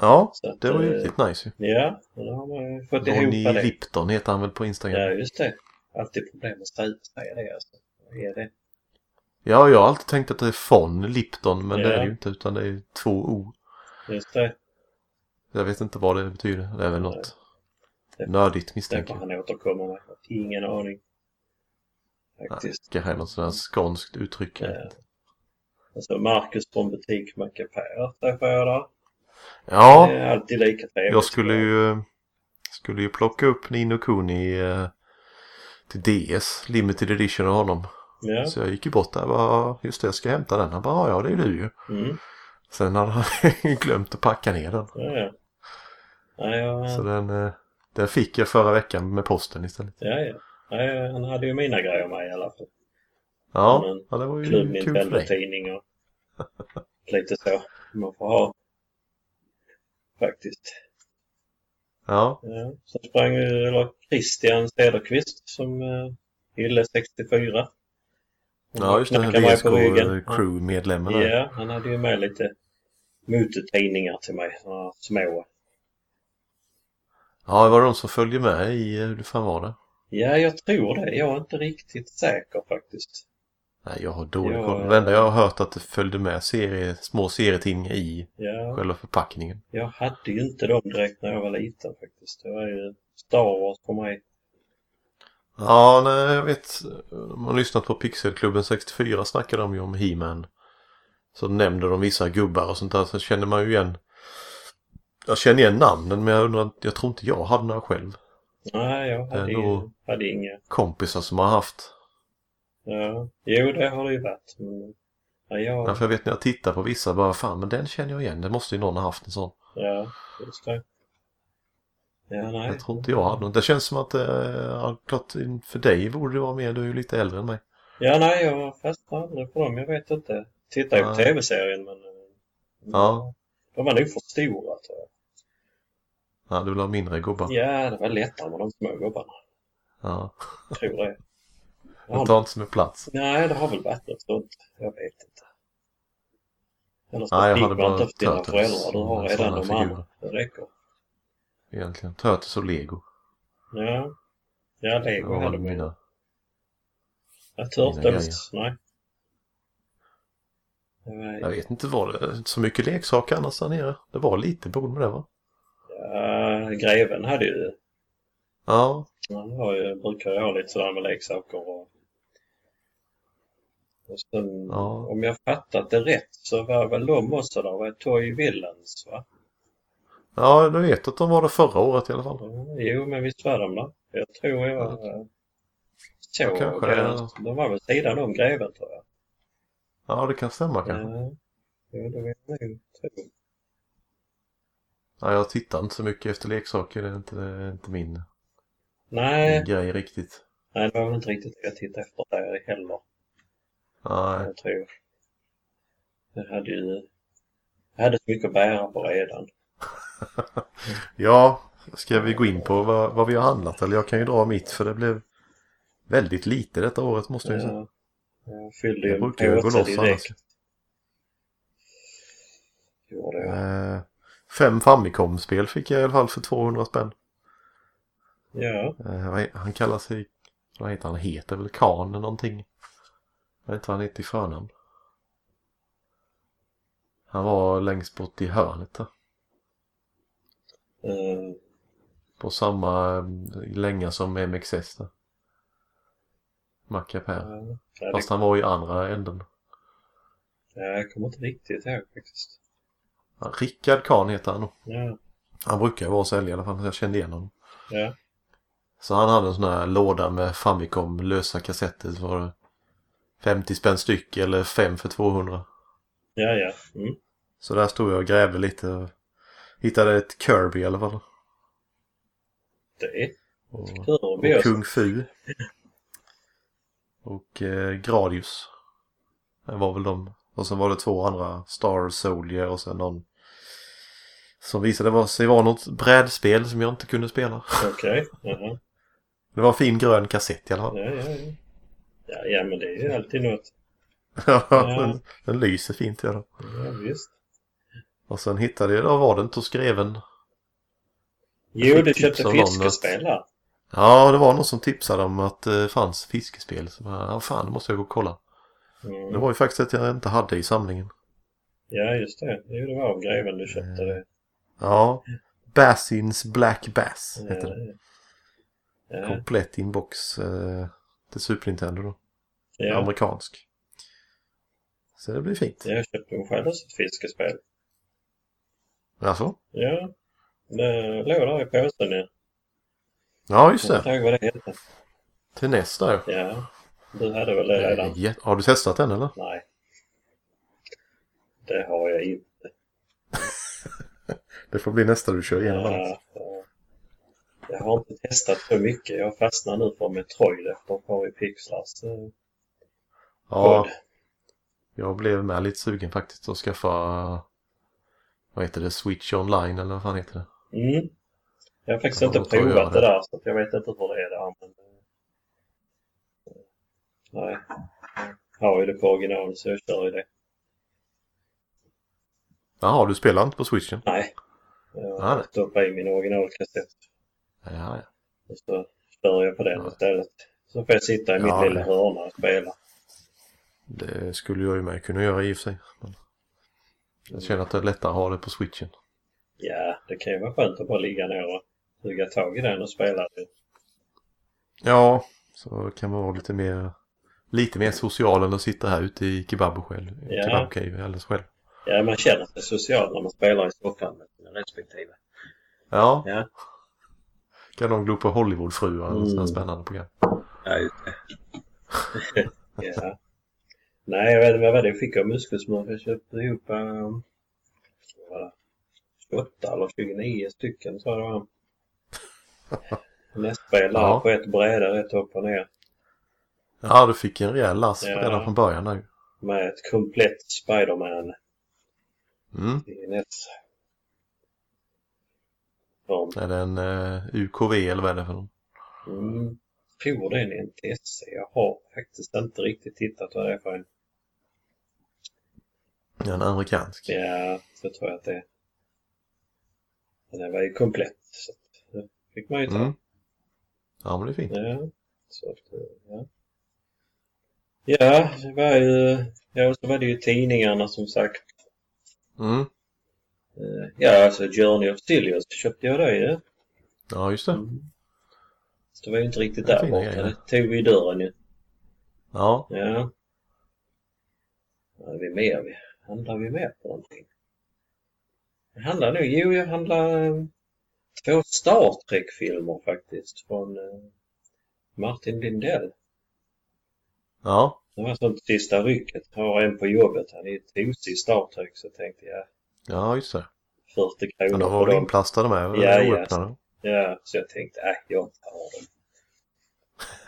[SPEAKER 1] Ja,
[SPEAKER 2] Så att,
[SPEAKER 1] det var ju
[SPEAKER 2] eh,
[SPEAKER 1] riktigt nice ju.
[SPEAKER 2] Ja, och då har man ju fått ihop Eh.
[SPEAKER 1] Ronny
[SPEAKER 2] det.
[SPEAKER 1] Lipton heter han väl på Instagram?
[SPEAKER 2] Ja, just det. Alltid problem att säga säga det alltså. Vad är det?
[SPEAKER 1] Ja, jag har alltid tänkt att det är von Lipton, men det är
[SPEAKER 2] Ja.
[SPEAKER 1] det ju inte utan det är två O.
[SPEAKER 2] Just det.
[SPEAKER 1] Jag vet inte vad det betyder. Det är väl något
[SPEAKER 2] Nej.
[SPEAKER 1] nördigt
[SPEAKER 2] Eh. Det
[SPEAKER 1] misstänker
[SPEAKER 2] får
[SPEAKER 1] jag.
[SPEAKER 2] han återkomma med. Ingen aning.
[SPEAKER 1] Nej,
[SPEAKER 2] Faktiskt.
[SPEAKER 1] Kanske är något sådant här skånskt uttryck. jag
[SPEAKER 2] Ja.
[SPEAKER 1] vet inte.
[SPEAKER 2] Och så Alltså, Marcus från butik Macapär träffade jag där.
[SPEAKER 1] Ja,
[SPEAKER 2] Det är alltid lika trevligt.
[SPEAKER 1] jag skulle ju, skulle ju plocka upp Nino Kuni eh, till DS, Limited Edition av honom.
[SPEAKER 2] Ja.
[SPEAKER 1] Så jag gick ju bort där och bara, just det, jag ska hämta den. Han bara, "Ja, ja det är du ju.
[SPEAKER 2] Mm.
[SPEAKER 1] Sen hade han glömt att packa ner den.
[SPEAKER 2] Ja, ja. Nej, jag...
[SPEAKER 1] Så den, eh, den fick jag förra veckan med posten istället.
[SPEAKER 2] Ja, ja. Nej, han hade ju mina grejer med i alla fall.
[SPEAKER 1] Ja,
[SPEAKER 2] Men
[SPEAKER 1] ja det var ju
[SPEAKER 2] Klubb,
[SPEAKER 1] Mm, kul för dig.
[SPEAKER 2] Nintendo-tidning och lite så. Man får ha. Faktiskt.
[SPEAKER 1] Ja,
[SPEAKER 2] Ja. Sen sprang ju eller Christian Cederqvist som uh, Ylle 64. Han
[SPEAKER 1] ja just det.
[SPEAKER 2] knackade mig på ryggen.
[SPEAKER 1] VSK-crew-medlemmen där.
[SPEAKER 2] Ja, han hade ju med lite motortidningar till mig. Såna här små.
[SPEAKER 1] Ja, var det de som följde med i, eh, hur fan var det?
[SPEAKER 2] Ja, jag tror det. Jag är inte riktigt säker faktiskt.
[SPEAKER 1] Nej, jag har dålig
[SPEAKER 2] Ja,
[SPEAKER 1] koll.
[SPEAKER 2] ja.
[SPEAKER 1] Det enda jag har hört att det följde med serie, små serietidningar i
[SPEAKER 2] Ja,
[SPEAKER 1] själva förpackningen.
[SPEAKER 2] jag hade ju inte dem direkt när jag var liten faktiskt. Det var ju Star Wars för mig.
[SPEAKER 1] Ja, nej, jag vet. Om man har lyssnat på Pixelklubben 64 snackade de ju om He-Man. Så nämnde de vissa gubbar och sånt där. Så känner man ju igen. Jag känner igen namnen men jag, undrar, jag tror inte jag hade några själv.
[SPEAKER 2] Nej, jag hade,
[SPEAKER 1] Ändå-
[SPEAKER 2] inga, hade inga.
[SPEAKER 1] Kompisar som har haft.
[SPEAKER 2] Ja. Jo, det har det ju varit. Men,
[SPEAKER 1] Ja.
[SPEAKER 2] ja, jag,
[SPEAKER 1] För jag vet när jag tittar på vissa bara fan men den känner jag igen. Det måste ju någon ha haft en sån.
[SPEAKER 2] ja, just det. Ja, nej.
[SPEAKER 1] Jag tror inte jag hade någon. Det känns som att eh, ja, klart för dig borde det vara mer. Du är ju lite äldre än mig.
[SPEAKER 2] Ja, nej, jag fastnar aldrig på dem. Jag vet inte. Tittar ju på
[SPEAKER 1] Nej.
[SPEAKER 2] tv-serien, men... eh,
[SPEAKER 1] Ja.
[SPEAKER 2] De var nog för stora, tror jag.
[SPEAKER 1] Ja, du vill ha mindre gubbar.
[SPEAKER 2] Ja, det var lättare med de små gubbarna.
[SPEAKER 1] Ja.
[SPEAKER 2] Jag tror det. Ja,
[SPEAKER 1] De tar inte så mycket plats.
[SPEAKER 2] Nej, det har väl varit något sånt. Jag vet inte. Eller så
[SPEAKER 1] Nej, jag
[SPEAKER 2] fick
[SPEAKER 1] hade
[SPEAKER 2] man
[SPEAKER 1] bara
[SPEAKER 2] inte efter dina
[SPEAKER 1] Turtles
[SPEAKER 2] föräldrar. Du har
[SPEAKER 1] och
[SPEAKER 2] redan
[SPEAKER 1] sådana
[SPEAKER 2] de
[SPEAKER 1] figurer.
[SPEAKER 2] andra. Det räcker.
[SPEAKER 1] Egentligen. Turtles och lego.
[SPEAKER 2] Ja. Ja,
[SPEAKER 1] Det
[SPEAKER 2] Lego
[SPEAKER 1] var
[SPEAKER 2] hade
[SPEAKER 1] väl
[SPEAKER 2] man ju.
[SPEAKER 1] mina.
[SPEAKER 2] Ja,
[SPEAKER 1] grejer.
[SPEAKER 2] Turtles. Nej. Nej.
[SPEAKER 1] Jag vet inte vad det Så mycket leksaker annars där nere. Det var lite bord med det va?
[SPEAKER 2] Ja, Eh, greven hade ju...
[SPEAKER 1] Ja.
[SPEAKER 2] Han har ju, brukar ju ha lite sådär med leksaker och... och sen,
[SPEAKER 1] Ja.
[SPEAKER 2] Om jag fattat det rätt så var väl de också där. Var Toy Villains, va?
[SPEAKER 1] Ja, du vet att de var det förra året i alla fall.
[SPEAKER 2] Mm, Jo, men visst var de där. Jag tror jag eh, såg
[SPEAKER 1] kanske
[SPEAKER 2] det.
[SPEAKER 1] är-
[SPEAKER 2] De var väl sidan om greven tror jag.
[SPEAKER 1] Ja, det kan stämma kanske.
[SPEAKER 2] Ja, jo, det vet jag nog. tro.
[SPEAKER 1] Ja, jag tittar inte så mycket efter leksaker. Det är inte, det är inte min, min
[SPEAKER 2] Nej,
[SPEAKER 1] grej riktigt.
[SPEAKER 2] nej, det var väl inte riktigt det jag tittade efter där heller.
[SPEAKER 1] Nej.
[SPEAKER 2] Jag tror. Jag hade ju... Jag hade så mycket att bära på redan.
[SPEAKER 1] Ja, ska vi gå in på vad, vad vi har handlat? Eller jag kan ju dra mitt för det blev väldigt lite detta året måste jag ju säga.
[SPEAKER 2] Jag, jag fyllde
[SPEAKER 1] Jag
[SPEAKER 2] ju en
[SPEAKER 1] brukar ju gå
[SPEAKER 2] påse
[SPEAKER 1] loss annars.
[SPEAKER 2] direkt. Gjorde jag.
[SPEAKER 1] Eh, Fem Famicom-spel fick jag i alla fall för 200 spänn.
[SPEAKER 2] Ja,
[SPEAKER 1] Eh, vad he- han kallar sig... Vad heter han? Heter väl Khan eller någonting? Jag vet inte vad han heter i förnamn. Han var längst bort i hörnet där.
[SPEAKER 2] eh,
[SPEAKER 1] På samma eh, länga som MXS där. Macapär.
[SPEAKER 2] ja, det-
[SPEAKER 1] Fast han var i andra änden.
[SPEAKER 2] ja, jag kommer inte riktigt ihåg faktiskt.
[SPEAKER 1] Ja, Rickard Kahn heter han nog.
[SPEAKER 2] Ja,
[SPEAKER 1] Han brukar vara sälj i alla fall, så jag kände igen honom.
[SPEAKER 2] ja.
[SPEAKER 1] Så han hade en sån här låda med Famicom lösa kassetter. Så var det 50 spänn styck eller 5 för 200.
[SPEAKER 2] Ja, ja. Mm.
[SPEAKER 1] Så där stod jag och grävde lite. och Hittade ett Kirby i alla fall.
[SPEAKER 2] Det är
[SPEAKER 1] Och,
[SPEAKER 2] tur.
[SPEAKER 1] och
[SPEAKER 2] Vi har
[SPEAKER 1] Kung Fu. Och eh, Gradius. Det var väl de. Och sen var det två andra. Star Soldier och sen någon. Som visade var- sig vara något brädspel som jag inte kunde spela.
[SPEAKER 2] Okej. Jaha.
[SPEAKER 1] Det var en fin grön kassett i alla fall.
[SPEAKER 2] Ja, ja, ja. Ja, ja, men det är ju alltid något.
[SPEAKER 1] den, den lyser fint gör den.
[SPEAKER 2] Ja, visst.
[SPEAKER 1] Och sen hittade jag, då var det inte hos greven.
[SPEAKER 2] Jo,
[SPEAKER 1] fick
[SPEAKER 2] du
[SPEAKER 1] tips
[SPEAKER 2] köpte
[SPEAKER 1] av någon att-
[SPEAKER 2] fiskespel här.
[SPEAKER 1] Ja, det var någon som tipsade om att det fanns fiskespel. Så jag, ja, fan, det måste jag gå och kolla. Det
[SPEAKER 2] Mm.
[SPEAKER 1] var ju faktiskt ett jag inte hade i samlingen.
[SPEAKER 2] Ja, just det. Jo, det var av greven du köpte det.
[SPEAKER 1] Ja, Bassins Black Bass
[SPEAKER 2] Ja,
[SPEAKER 1] heter det.
[SPEAKER 2] ja.
[SPEAKER 1] Komplett inbox eh, till Super Nintendo då.
[SPEAKER 2] ja.
[SPEAKER 1] Amerikansk. Så det blir fint.
[SPEAKER 2] ja, jag köpte ju själv också ett fiskespel.
[SPEAKER 1] Alltså?
[SPEAKER 2] Ja, det låg där i påsen. Ja.
[SPEAKER 1] Ja, just
[SPEAKER 2] Jag
[SPEAKER 1] det.
[SPEAKER 2] kommer inte ihåg vad det hette.
[SPEAKER 1] Till nästa ju.
[SPEAKER 2] Ja, du hade väl det redan?
[SPEAKER 1] Eh, jä- Har du testat den eller?
[SPEAKER 2] Nej. Det har jag inte.
[SPEAKER 1] Det får bli nästa du kör igenom allt.
[SPEAKER 2] Ja, ja. Jag har inte testat så mycket. Jag fastnar nu för Metroid efter Harry Pixlars eh,
[SPEAKER 1] Ja,
[SPEAKER 2] podd.
[SPEAKER 1] jag blev med lite sugen faktiskt att skaffa... Vad heter det? Switch online eller vad fan heter det?
[SPEAKER 2] Mm. Jag har faktiskt
[SPEAKER 1] Jag
[SPEAKER 2] inte
[SPEAKER 1] kommer att göra
[SPEAKER 2] provat det
[SPEAKER 1] det.
[SPEAKER 2] där så att jag vet inte hur det är där. Men... eh, Nej, jag har ju det på original så jag kör ju det.
[SPEAKER 1] Jaha, du spelar inte på switchen?
[SPEAKER 2] Nej,
[SPEAKER 1] Ah,
[SPEAKER 2] jag
[SPEAKER 1] nej.
[SPEAKER 2] stoppar i min originalkassett
[SPEAKER 1] Ja, ja.
[SPEAKER 2] och så kör jag på den
[SPEAKER 1] Ja.
[SPEAKER 2] istället. Så får jag sitta i mitt
[SPEAKER 1] Ja,
[SPEAKER 2] lilla
[SPEAKER 1] det-
[SPEAKER 2] hörna och spela.
[SPEAKER 1] Det skulle jag ju med kunna göra i och för sig. Men jag känner att det är lättare att ha det på switchen.
[SPEAKER 2] Ja, det kan ju vara skönt att bara ligga ner och suga tag i den och spela.
[SPEAKER 1] Ja, så kan man vara lite mer lite mer social än att sitta här ute i kebab själv.
[SPEAKER 2] Ja.
[SPEAKER 1] Kebab cave alldeles själv.
[SPEAKER 2] Ja, man känner sig social när man spelar i soffan med sina respektive.
[SPEAKER 1] Ja,
[SPEAKER 2] Ja,
[SPEAKER 1] kan de glo på Hollywoodfruar och sådana
[SPEAKER 2] Mm.
[SPEAKER 1] spännande program.
[SPEAKER 3] Ja, just det.
[SPEAKER 2] ja. Nej, jag vet inte vad var det jag fick av muskelsmör. Jag köpte ihop um, 28 eller 29 stycken tror jag det var. Nästspelare
[SPEAKER 1] Ja.
[SPEAKER 2] på ett bräde rätt upp och ner.
[SPEAKER 1] Ja, du fick en rejäl lass
[SPEAKER 2] Ja.
[SPEAKER 1] redan från början där ju.
[SPEAKER 2] Med ett komplett Spiderman
[SPEAKER 1] Mm.
[SPEAKER 2] i nät. Ja,
[SPEAKER 1] Är det en eh, UKV eller vad är det för någon?
[SPEAKER 2] mm, tror det är en NTSC. Jag har faktiskt inte riktigt tittat vad det är för en.
[SPEAKER 1] En amerikansk.
[SPEAKER 2] Ja, så tror jag att det Den här var ju komplett. Så att det fick man ju ta.
[SPEAKER 1] Mm. Ja, men det är fint.
[SPEAKER 2] Ja, så att, ja. ja, det var ju... Ja, och så var det ju tidningarna som sagt.
[SPEAKER 1] Mm.
[SPEAKER 2] Eh, Ja, alltså Journey of Silius köpte jag det ju.
[SPEAKER 1] Ja, just det.
[SPEAKER 2] Så det var ju inte riktigt
[SPEAKER 1] Det är
[SPEAKER 2] där
[SPEAKER 1] fina
[SPEAKER 2] borta.
[SPEAKER 1] grejer.
[SPEAKER 2] Det tog vi i dörren ju.
[SPEAKER 1] Ja,
[SPEAKER 2] Ja. Vad hade vi mer? Vi- Handlar vi mer på någonting? Jag handlar nu, jo jag handlar eh, två Star Trek-filmer faktiskt från eh, Martin Lindell.
[SPEAKER 1] ja.
[SPEAKER 2] Det var sånt sista rycket. Jag har en på jobbet, han är ju tosig i Star Trek så tänkte jag
[SPEAKER 1] Ja, just det.
[SPEAKER 2] 40
[SPEAKER 1] Men
[SPEAKER 2] kronor
[SPEAKER 1] de
[SPEAKER 2] för
[SPEAKER 1] var väl
[SPEAKER 2] dem.
[SPEAKER 1] inplastade med?
[SPEAKER 2] Ja, ja.
[SPEAKER 1] oöppnade.
[SPEAKER 2] Ja, så jag tänkte, nej jag tar dem.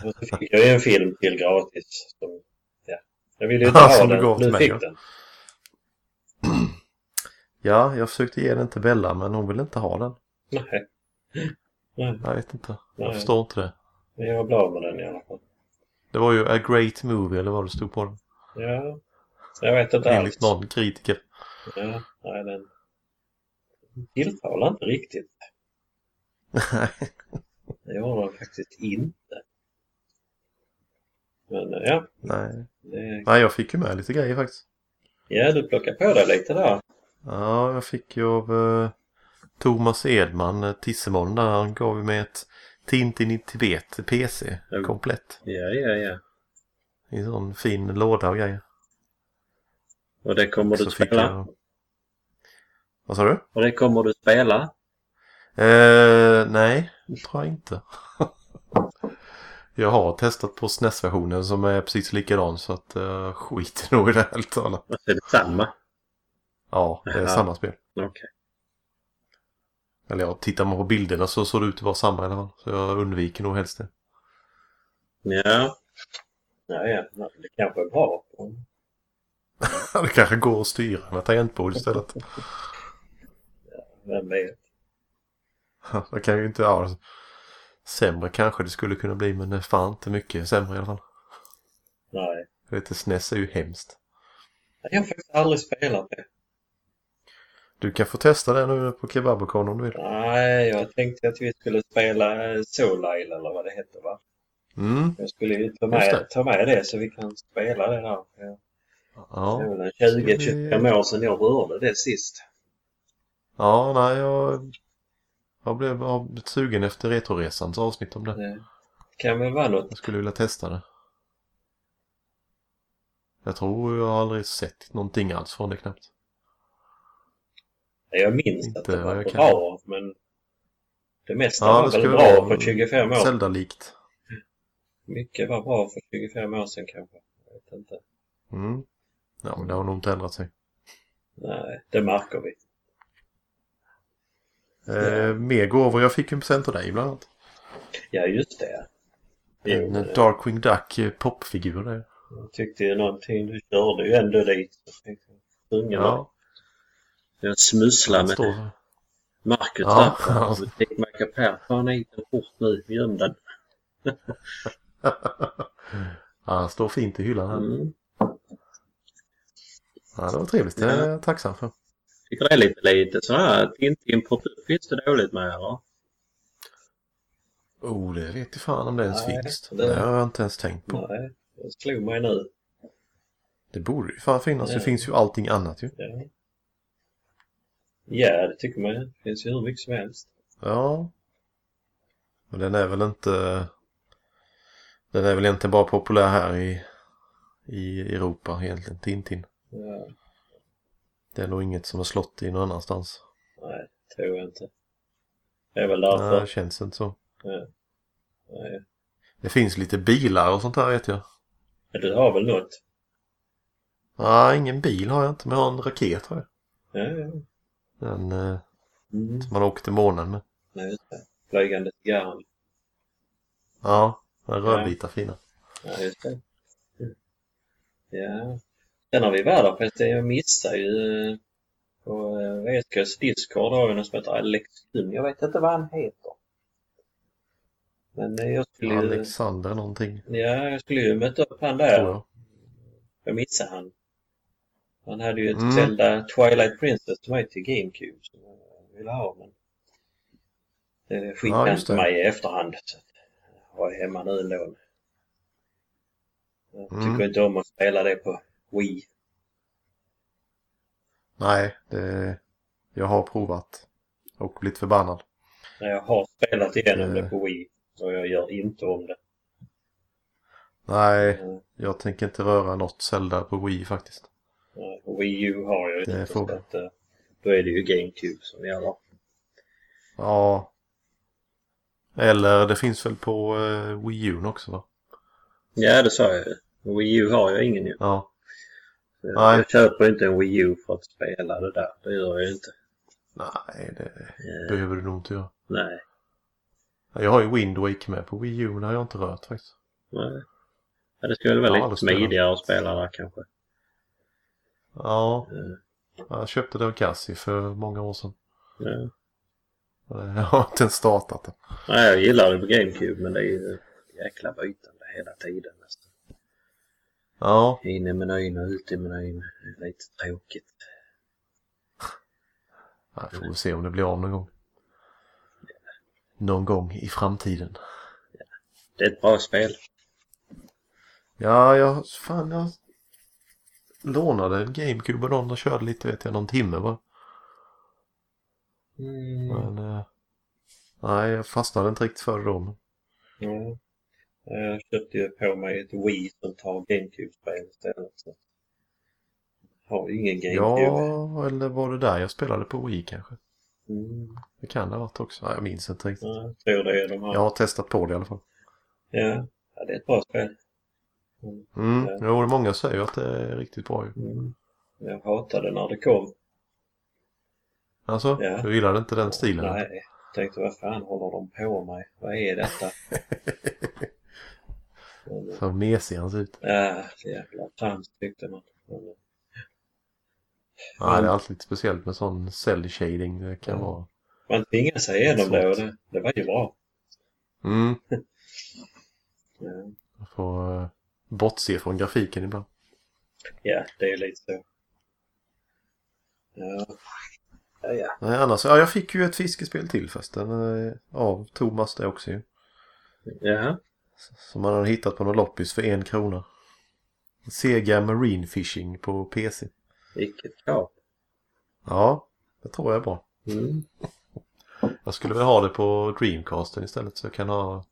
[SPEAKER 2] Och så fick jag ju en film till gratis. Som, ja. Jag ville ju inte
[SPEAKER 1] Ja,
[SPEAKER 2] ha
[SPEAKER 1] som du gav
[SPEAKER 2] den,
[SPEAKER 1] till
[SPEAKER 2] nu
[SPEAKER 1] mig,
[SPEAKER 2] fick
[SPEAKER 1] ja.
[SPEAKER 2] den.
[SPEAKER 1] ja, jag försökte ge den till Bella, men hon ville inte ha den.
[SPEAKER 2] Nej. Nej.
[SPEAKER 1] Jag vet inte. Jag
[SPEAKER 2] Nej.
[SPEAKER 1] förstår inte det.
[SPEAKER 2] Men jag blev av med den i alla fall.
[SPEAKER 1] Det var ju A Great Movie, eller vad det stod på den.
[SPEAKER 2] Ja. Jag vet inte alls.
[SPEAKER 1] Enligt någon kritiker.
[SPEAKER 2] Ja, nej, den tilltalar inte riktigt.
[SPEAKER 1] Nej.
[SPEAKER 2] Det gör den faktiskt inte. Men eh, ja,
[SPEAKER 1] Nej.
[SPEAKER 2] det...
[SPEAKER 1] Nej, jag fick ju med lite grejer faktiskt.
[SPEAKER 2] ja du plockar på dig lite där.
[SPEAKER 1] Ja, jag fick ju av eh, Thomas Edman, eh, Tissemoln, där han gav mig ett Tintin i Tibet till PC,
[SPEAKER 2] Mm.
[SPEAKER 1] komplett.
[SPEAKER 2] Ja, ja, ja.
[SPEAKER 1] I en sån fin låda och grejer.
[SPEAKER 2] Och det kommer
[SPEAKER 1] Så fick jag... Vad sa du?
[SPEAKER 2] Och det kommer du spela?
[SPEAKER 1] Eh, nej, det tror jag inte. jag har testat på SNES-versionen som är precis likadan så att eh, skiter nog i det helt och hållet.
[SPEAKER 3] Alltså, är det samma?
[SPEAKER 1] Ja, det är
[SPEAKER 3] Jaha.
[SPEAKER 1] samma spel.
[SPEAKER 3] Okej.
[SPEAKER 1] Eller ja, tittar man på bilderna så såg det ut att vara samma i alla fall. Så jag undviker nog helst det.
[SPEAKER 3] Ja.
[SPEAKER 2] Ja, ja. Nej, Det kanske är bra.
[SPEAKER 1] det kanske går att styra med tangentbord istället.
[SPEAKER 2] Vem vet?
[SPEAKER 1] det kan ju inte... Ja, alltså. sämre kanske det skulle kunna bli men det är fan inte mycket sämre i alla fall.
[SPEAKER 2] Nej.
[SPEAKER 1] Lite SNES är ju hemskt.
[SPEAKER 2] Jag har faktiskt aldrig spelat det.
[SPEAKER 1] Du kan få testa det nu på Kebabocon om du vill.
[SPEAKER 2] Nej, jag tänkte att vi skulle spela eh, Soul Isle eller vad det hette va?
[SPEAKER 1] Mm,
[SPEAKER 2] Jag skulle ju ta
[SPEAKER 1] Just
[SPEAKER 2] med,
[SPEAKER 1] det.
[SPEAKER 2] ta med det så vi kan spela det där. Ja. Det
[SPEAKER 1] ja.
[SPEAKER 2] är väl
[SPEAKER 1] Ska vi-
[SPEAKER 2] 20-25 år sedan jag rörde det sist.
[SPEAKER 1] Ja, nej, jag, jag blev jag blev sugen efter Retroresans avsnitt om det.
[SPEAKER 2] Det kan väl vara något.
[SPEAKER 1] Jag skulle vilja testa det. Jag tror jag har aldrig sett någonting alls från det knappt.
[SPEAKER 2] Jag minns
[SPEAKER 1] Inte
[SPEAKER 2] att det
[SPEAKER 1] vad
[SPEAKER 2] var
[SPEAKER 1] jag kan.
[SPEAKER 2] bra, men det mesta
[SPEAKER 1] Ja, det
[SPEAKER 2] var
[SPEAKER 1] skulle
[SPEAKER 2] väl bra
[SPEAKER 1] vara
[SPEAKER 2] för 25 år.
[SPEAKER 1] Zelda-likt.
[SPEAKER 2] Mycket var bra för 25 år sedan kanske. Jag vet inte.
[SPEAKER 1] Mm. Ja, men det har nog inte ändrat sig.
[SPEAKER 2] Nej, det märker vi.
[SPEAKER 1] Eh, mer gåvor. Jag fick en present av dig bland annat.
[SPEAKER 2] Ja, just det. Jo,
[SPEAKER 1] En eh,
[SPEAKER 2] men
[SPEAKER 1] Darkwing Duck eh, popfigur där.
[SPEAKER 2] jag tyckte ju någonting. Du körde ju ändå dit. Jag tänkte, sjunga då.
[SPEAKER 1] Ja,
[SPEAKER 3] Jag smusslar
[SPEAKER 1] den
[SPEAKER 3] med
[SPEAKER 1] står...
[SPEAKER 3] Marcus
[SPEAKER 1] Ja.
[SPEAKER 3] där på Butik Macapär. Fan hit den fort nu, göm den.
[SPEAKER 1] ja, den står fint i hyllan här.
[SPEAKER 3] Mm.
[SPEAKER 1] Ja, det var trevligt. Det är jag tacksam för.
[SPEAKER 3] Tycker det är lite, lite så här Tintin-produkt finns det dåligt med eller?
[SPEAKER 1] Oh, det vet jag fan om det ens
[SPEAKER 2] Nej,
[SPEAKER 1] finns.
[SPEAKER 2] det-
[SPEAKER 1] Det har jag inte ens tänkt på.
[SPEAKER 2] Nej, det slog mig nu.
[SPEAKER 1] Det borde ju fan finnas. Det
[SPEAKER 2] Ja.
[SPEAKER 1] finns ju allting annat ju.
[SPEAKER 2] Ja. ja, det tycker man. Det finns ju hur mycket som helst.
[SPEAKER 1] Ja. Men den är väl inte... Den är väl egentligen bara populär här i i Europa egentligen, Tintin.
[SPEAKER 2] Ja,
[SPEAKER 1] Det är nog inget som har slått i någon annanstans.
[SPEAKER 2] nej, tror jag inte. Det är väl
[SPEAKER 1] Nej,
[SPEAKER 2] därför.
[SPEAKER 1] det känns inte så.
[SPEAKER 2] Nej.
[SPEAKER 1] Det finns lite bilar och sånt där vet jag.
[SPEAKER 2] Men du har väl något?
[SPEAKER 1] Nej, ingen bil har jag inte, men jag har en raket har jag.
[SPEAKER 2] Ja, ja.
[SPEAKER 1] Den eh,
[SPEAKER 2] Mm.
[SPEAKER 1] som man åker till månen med.
[SPEAKER 2] Nej, just det. Flygande cigarren.
[SPEAKER 1] Ja, den rödvita fina.
[SPEAKER 2] Ja, just det. Mm. Ja. Sen har vi världarfest. Jag missar ju eh, på eh, Eskös Discord har vi någon som heter Alex Kuhn. Jag vet inte vad han heter. Men eh, jag skulle ju,
[SPEAKER 1] Alexander någonting,
[SPEAKER 2] ja, jag skulle ju möta upp han där.
[SPEAKER 1] tror jag.
[SPEAKER 2] Jag missar han. Han hade ju ett
[SPEAKER 1] Mm.
[SPEAKER 2] Zelda Twilight Princess som var ju till GameCube som jag ville ha men det skickade
[SPEAKER 1] Ja,
[SPEAKER 2] han
[SPEAKER 1] just
[SPEAKER 2] till
[SPEAKER 1] det.
[SPEAKER 2] mig i efterhand. Så jag har jag hemma nu ändå. Jag tycker
[SPEAKER 1] Mm.
[SPEAKER 2] inte om att spela det på Wii.
[SPEAKER 1] Nej, det... jag har provat och blivit förbannad.
[SPEAKER 2] När jag har spelat igenom
[SPEAKER 1] Eh.
[SPEAKER 2] det på Wii och jag gör inte om det.
[SPEAKER 1] Nej,
[SPEAKER 2] Mm.
[SPEAKER 1] jag tänker inte röra något Zelda på Wii faktiskt.
[SPEAKER 2] Eh, och Wii U har jag ju
[SPEAKER 1] Det är
[SPEAKER 2] inte. så
[SPEAKER 1] frågan.
[SPEAKER 2] att, eh, Då är det ju GameCube som gäller.
[SPEAKER 1] Ja. Eller det finns väl på eh, Wii U också va?
[SPEAKER 3] Ja, det sa jag ju. Wii U har jag ingen ju.
[SPEAKER 1] Ja. Nej.
[SPEAKER 3] Eh, Jag köper inte en Wii U för att spela det där. Det gör jag inte.
[SPEAKER 1] Nej, det
[SPEAKER 3] Eh,
[SPEAKER 1] behöver du nog inte göra.
[SPEAKER 3] nej.
[SPEAKER 1] Jag har ju Wind Waker med på Wii U, men det har jag inte rört faktiskt.
[SPEAKER 3] nej. Ja, det skulle vara
[SPEAKER 1] Ja,
[SPEAKER 3] lite
[SPEAKER 1] det spelar.
[SPEAKER 3] smidigare att spela där kanske.
[SPEAKER 1] Ja,
[SPEAKER 3] Eh,
[SPEAKER 1] jag köpte det av Cassie för många år sedan.
[SPEAKER 3] ja.
[SPEAKER 1] Jag har inte ens startat det.
[SPEAKER 3] Nej, jag gillar det på GameCube men det är ju jäkla bytande hela tiden nästan.
[SPEAKER 1] Ja,
[SPEAKER 3] In i menyn och ut i menyn. Det är lite tråkigt.
[SPEAKER 1] jag får väl se om det blir av någon gång. Någon gång i framtiden.
[SPEAKER 3] Det är ett bra spel.
[SPEAKER 1] Ja, jag... Fan, jag lånade GameCube och någon och körde lite, vet jag, någon timme bara.
[SPEAKER 2] Mm.
[SPEAKER 1] Men... Eh, nej, jag fastnade inte riktigt för det då. men-
[SPEAKER 2] Ja.
[SPEAKER 3] Eh,
[SPEAKER 2] Jag köpte ju på mig ett Wii som tar GameCube-spel istället. Så. Har ju ingen GameCube.
[SPEAKER 1] Ja, eller var det där jag spelade på Wii kanske?
[SPEAKER 2] Mm.
[SPEAKER 1] Det kan det ha varit också. Nej, jag minns inte riktigt.
[SPEAKER 2] Ja, jag tror det är de här.
[SPEAKER 1] Jag har testat på det i alla fall.
[SPEAKER 2] Ja. Ja, det är ett bra spel.
[SPEAKER 1] Mm,
[SPEAKER 2] Ja.
[SPEAKER 1] jo, det många säger ju att det är riktigt bra ju.
[SPEAKER 2] Mm. Jag hatade när det kom.
[SPEAKER 1] Alltså,
[SPEAKER 2] Ja.
[SPEAKER 1] du gillade inte den stilen?
[SPEAKER 2] Nej, jag tänkte vad fan håller de på med? Vad är detta? Men,
[SPEAKER 1] Så mesig han ser ut.
[SPEAKER 2] Ja, jävla trams tyckte man. Men, Mm.
[SPEAKER 1] Nej, det är alltid lite speciellt med sån cell shading. Det kan
[SPEAKER 2] Ja.
[SPEAKER 1] vara...
[SPEAKER 2] Man tvingade sig igenom
[SPEAKER 1] Det är
[SPEAKER 2] det och
[SPEAKER 1] svårt.
[SPEAKER 2] det, det var ju bra.
[SPEAKER 1] Mm,
[SPEAKER 2] Ja,
[SPEAKER 1] jag får eh, bortse från grafiken ibland.
[SPEAKER 2] ja det är lite så. Ja, ja. ja.
[SPEAKER 1] Nej, annars, ja, jag fick ju ett fiskespel till förresten eh, av Thomas det också ju.
[SPEAKER 3] Ja.
[SPEAKER 1] Som han hade hittat på någon loppis för en krona. Sega Marine Fishing på PC.
[SPEAKER 3] Vilket kap.
[SPEAKER 1] Ja, det tror jag är bra.
[SPEAKER 3] Mm.
[SPEAKER 1] Jag skulle väl ha det på Dreamcasten istället så jag kan ha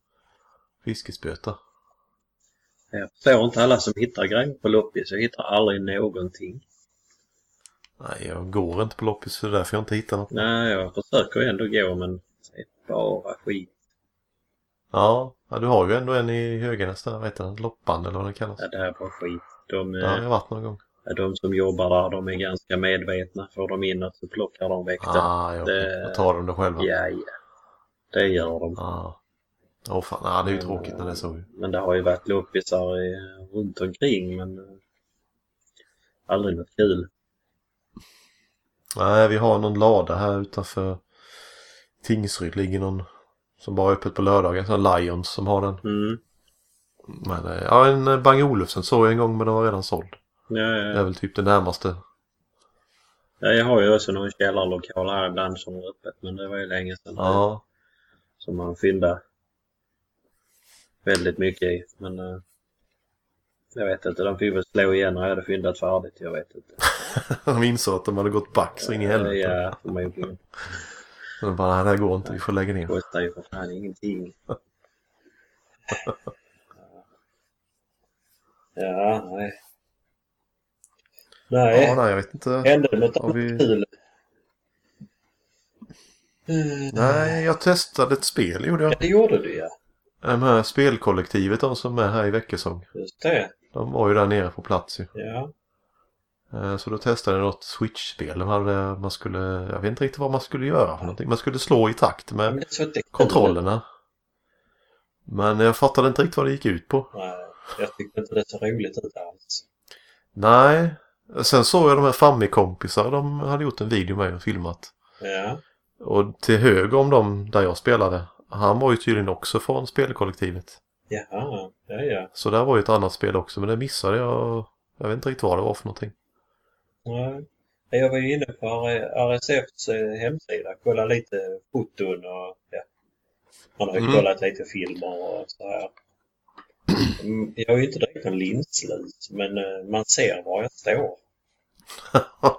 [SPEAKER 1] fiskespöta.
[SPEAKER 3] Jag förstår inte alla som hittar grejer på loppis. Jag hittar aldrig någonting.
[SPEAKER 1] Nej, jag går inte på loppis så det är därför jag inte hittar något.
[SPEAKER 3] Nej, jag försöker ändå gå men det är bara skit.
[SPEAKER 1] Ja, ja du har ju ändå en i Höganäs där, vad heter den? Loppan eller vad den kallas.
[SPEAKER 3] Ja, det här är bara skit. De,
[SPEAKER 1] Där har
[SPEAKER 3] eh,
[SPEAKER 1] jag varit någon gång.
[SPEAKER 3] de som jobbar där, de är ganska medvetna. Får de in något så plockar de väck det.
[SPEAKER 1] Ah, ja,
[SPEAKER 3] Det-
[SPEAKER 1] okej. Då tar de det själva.
[SPEAKER 3] Ja, ja. Det gör de.
[SPEAKER 1] Ja. Åh fan, ah, det är ju tråkigt när det är så. ju.
[SPEAKER 3] Men det har ju varit loppisar eh, runt omkring men eh, aldrig något kul.
[SPEAKER 1] Nej, vi har någon lada här utanför Tingsryd ligger någon som bara är öppet på lördagar. Sån Lions som har den.
[SPEAKER 3] Mm.
[SPEAKER 1] Men eh, ja, en eh, Bang Olufsen såg jag en gång men den var redan såld.
[SPEAKER 3] Ja,
[SPEAKER 1] Det är
[SPEAKER 3] ja.
[SPEAKER 1] väl typ det närmaste.
[SPEAKER 3] ja, jag har ju också någon källarlokal här ibland som är öppet men det var ju länge sedan.
[SPEAKER 1] Ja,
[SPEAKER 3] som man fyndar väldigt mycket i. Men eh, jag vet inte, de fick väl slå igen när jag hade fyndat färdigt. Jag vet inte.
[SPEAKER 1] de insåg att de hade gått back så in i helvete.
[SPEAKER 3] Ja, förmodligen.
[SPEAKER 1] Så de bara, nej det här går inte, vi får lägga
[SPEAKER 3] Det
[SPEAKER 1] ner.
[SPEAKER 3] kostar ju för fan ingenting.
[SPEAKER 2] Ja, nej. Nej,
[SPEAKER 1] Ja, nej, jag vet inte.
[SPEAKER 2] hände det något
[SPEAKER 1] Har
[SPEAKER 2] annat
[SPEAKER 1] vi-
[SPEAKER 2] kul? Eh,
[SPEAKER 1] Nej, jag testade ett spel gjorde jag.
[SPEAKER 2] Det gjorde du ja.
[SPEAKER 1] De här spelkollektivet, de som är här i Väckesång.
[SPEAKER 2] Just det.
[SPEAKER 1] De var ju där nere på plats ju.
[SPEAKER 2] Ja.
[SPEAKER 1] Eh, Så då testade jag något Switch-spel. De hade, man skulle, jag vet inte riktigt vad man skulle göra för någonting. Man skulle slå i takt
[SPEAKER 2] Men
[SPEAKER 1] med
[SPEAKER 2] det är så att det är kul.
[SPEAKER 1] kontrollerna. Men jag fattade inte riktigt vad det gick ut på.
[SPEAKER 2] Nej, jag tyckte inte det så roligt ut alls.
[SPEAKER 1] Nej. Sen såg jag de här Fammi-kompisar, de hade gjort en video med och filmat.
[SPEAKER 2] Ja,
[SPEAKER 1] Och till höger om dem där jag spelade, han var ju tydligen också från spelkollektivet.
[SPEAKER 2] jaha, ja, ja.
[SPEAKER 1] Så där var ju ett annat spel också, men det missade jag. Jag vet inte riktigt vad det var för någonting.
[SPEAKER 2] Nej. Jag var ju inne på RSFs eh, hemsida, kolla lite foton och ja. Man har ju
[SPEAKER 1] Mm.
[SPEAKER 2] kollat lite filmer och så här. Mm, Jag är ju inte direkt en linslus, men eh, man ser var jag står.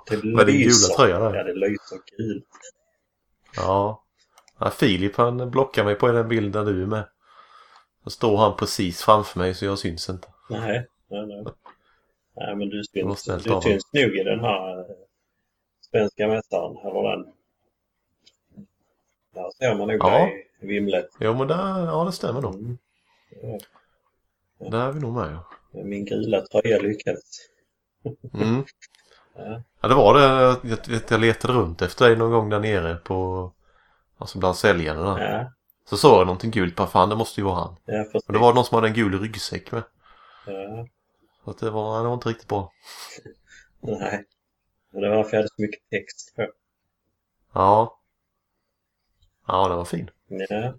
[SPEAKER 2] Det
[SPEAKER 1] Med din gula tröja
[SPEAKER 2] Ja,
[SPEAKER 1] där.
[SPEAKER 2] det lyser kul.
[SPEAKER 1] Ja. ja. Filip han blockar mig på den bilden du är med. Då står han precis framför mig så jag syns inte.
[SPEAKER 2] Nej, nej, nej. Nej, men du
[SPEAKER 1] Det var
[SPEAKER 2] syns,
[SPEAKER 1] snällt
[SPEAKER 2] du
[SPEAKER 1] av
[SPEAKER 2] syns nog i den här eh, svenska mästaren, eller den. Där ser man nog
[SPEAKER 1] Ja.
[SPEAKER 2] dig i vimlet.
[SPEAKER 1] Jo men där, ja det stämmer nog.
[SPEAKER 2] Mm.
[SPEAKER 1] Där är vi nog med ja.
[SPEAKER 2] Min gula tröja lyckades.
[SPEAKER 1] Mm.
[SPEAKER 2] Ja.
[SPEAKER 1] Ja det var det. Jag, vet, jag letade runt efter dig någon gång där nere på... Alltså bland säljarna. där.
[SPEAKER 2] Ja,
[SPEAKER 1] Så såg jag någonting gult. Bara fan det måste ju vara han.
[SPEAKER 2] ja precis.
[SPEAKER 1] Men det var någon som hade en gul ryggsäck med.
[SPEAKER 2] Ja,
[SPEAKER 1] Så att det, var, ja, det var inte riktigt bra.
[SPEAKER 2] nej. Men det var för jag hade så mycket text på.
[SPEAKER 1] Ja. Ja den var fin.
[SPEAKER 2] Ja,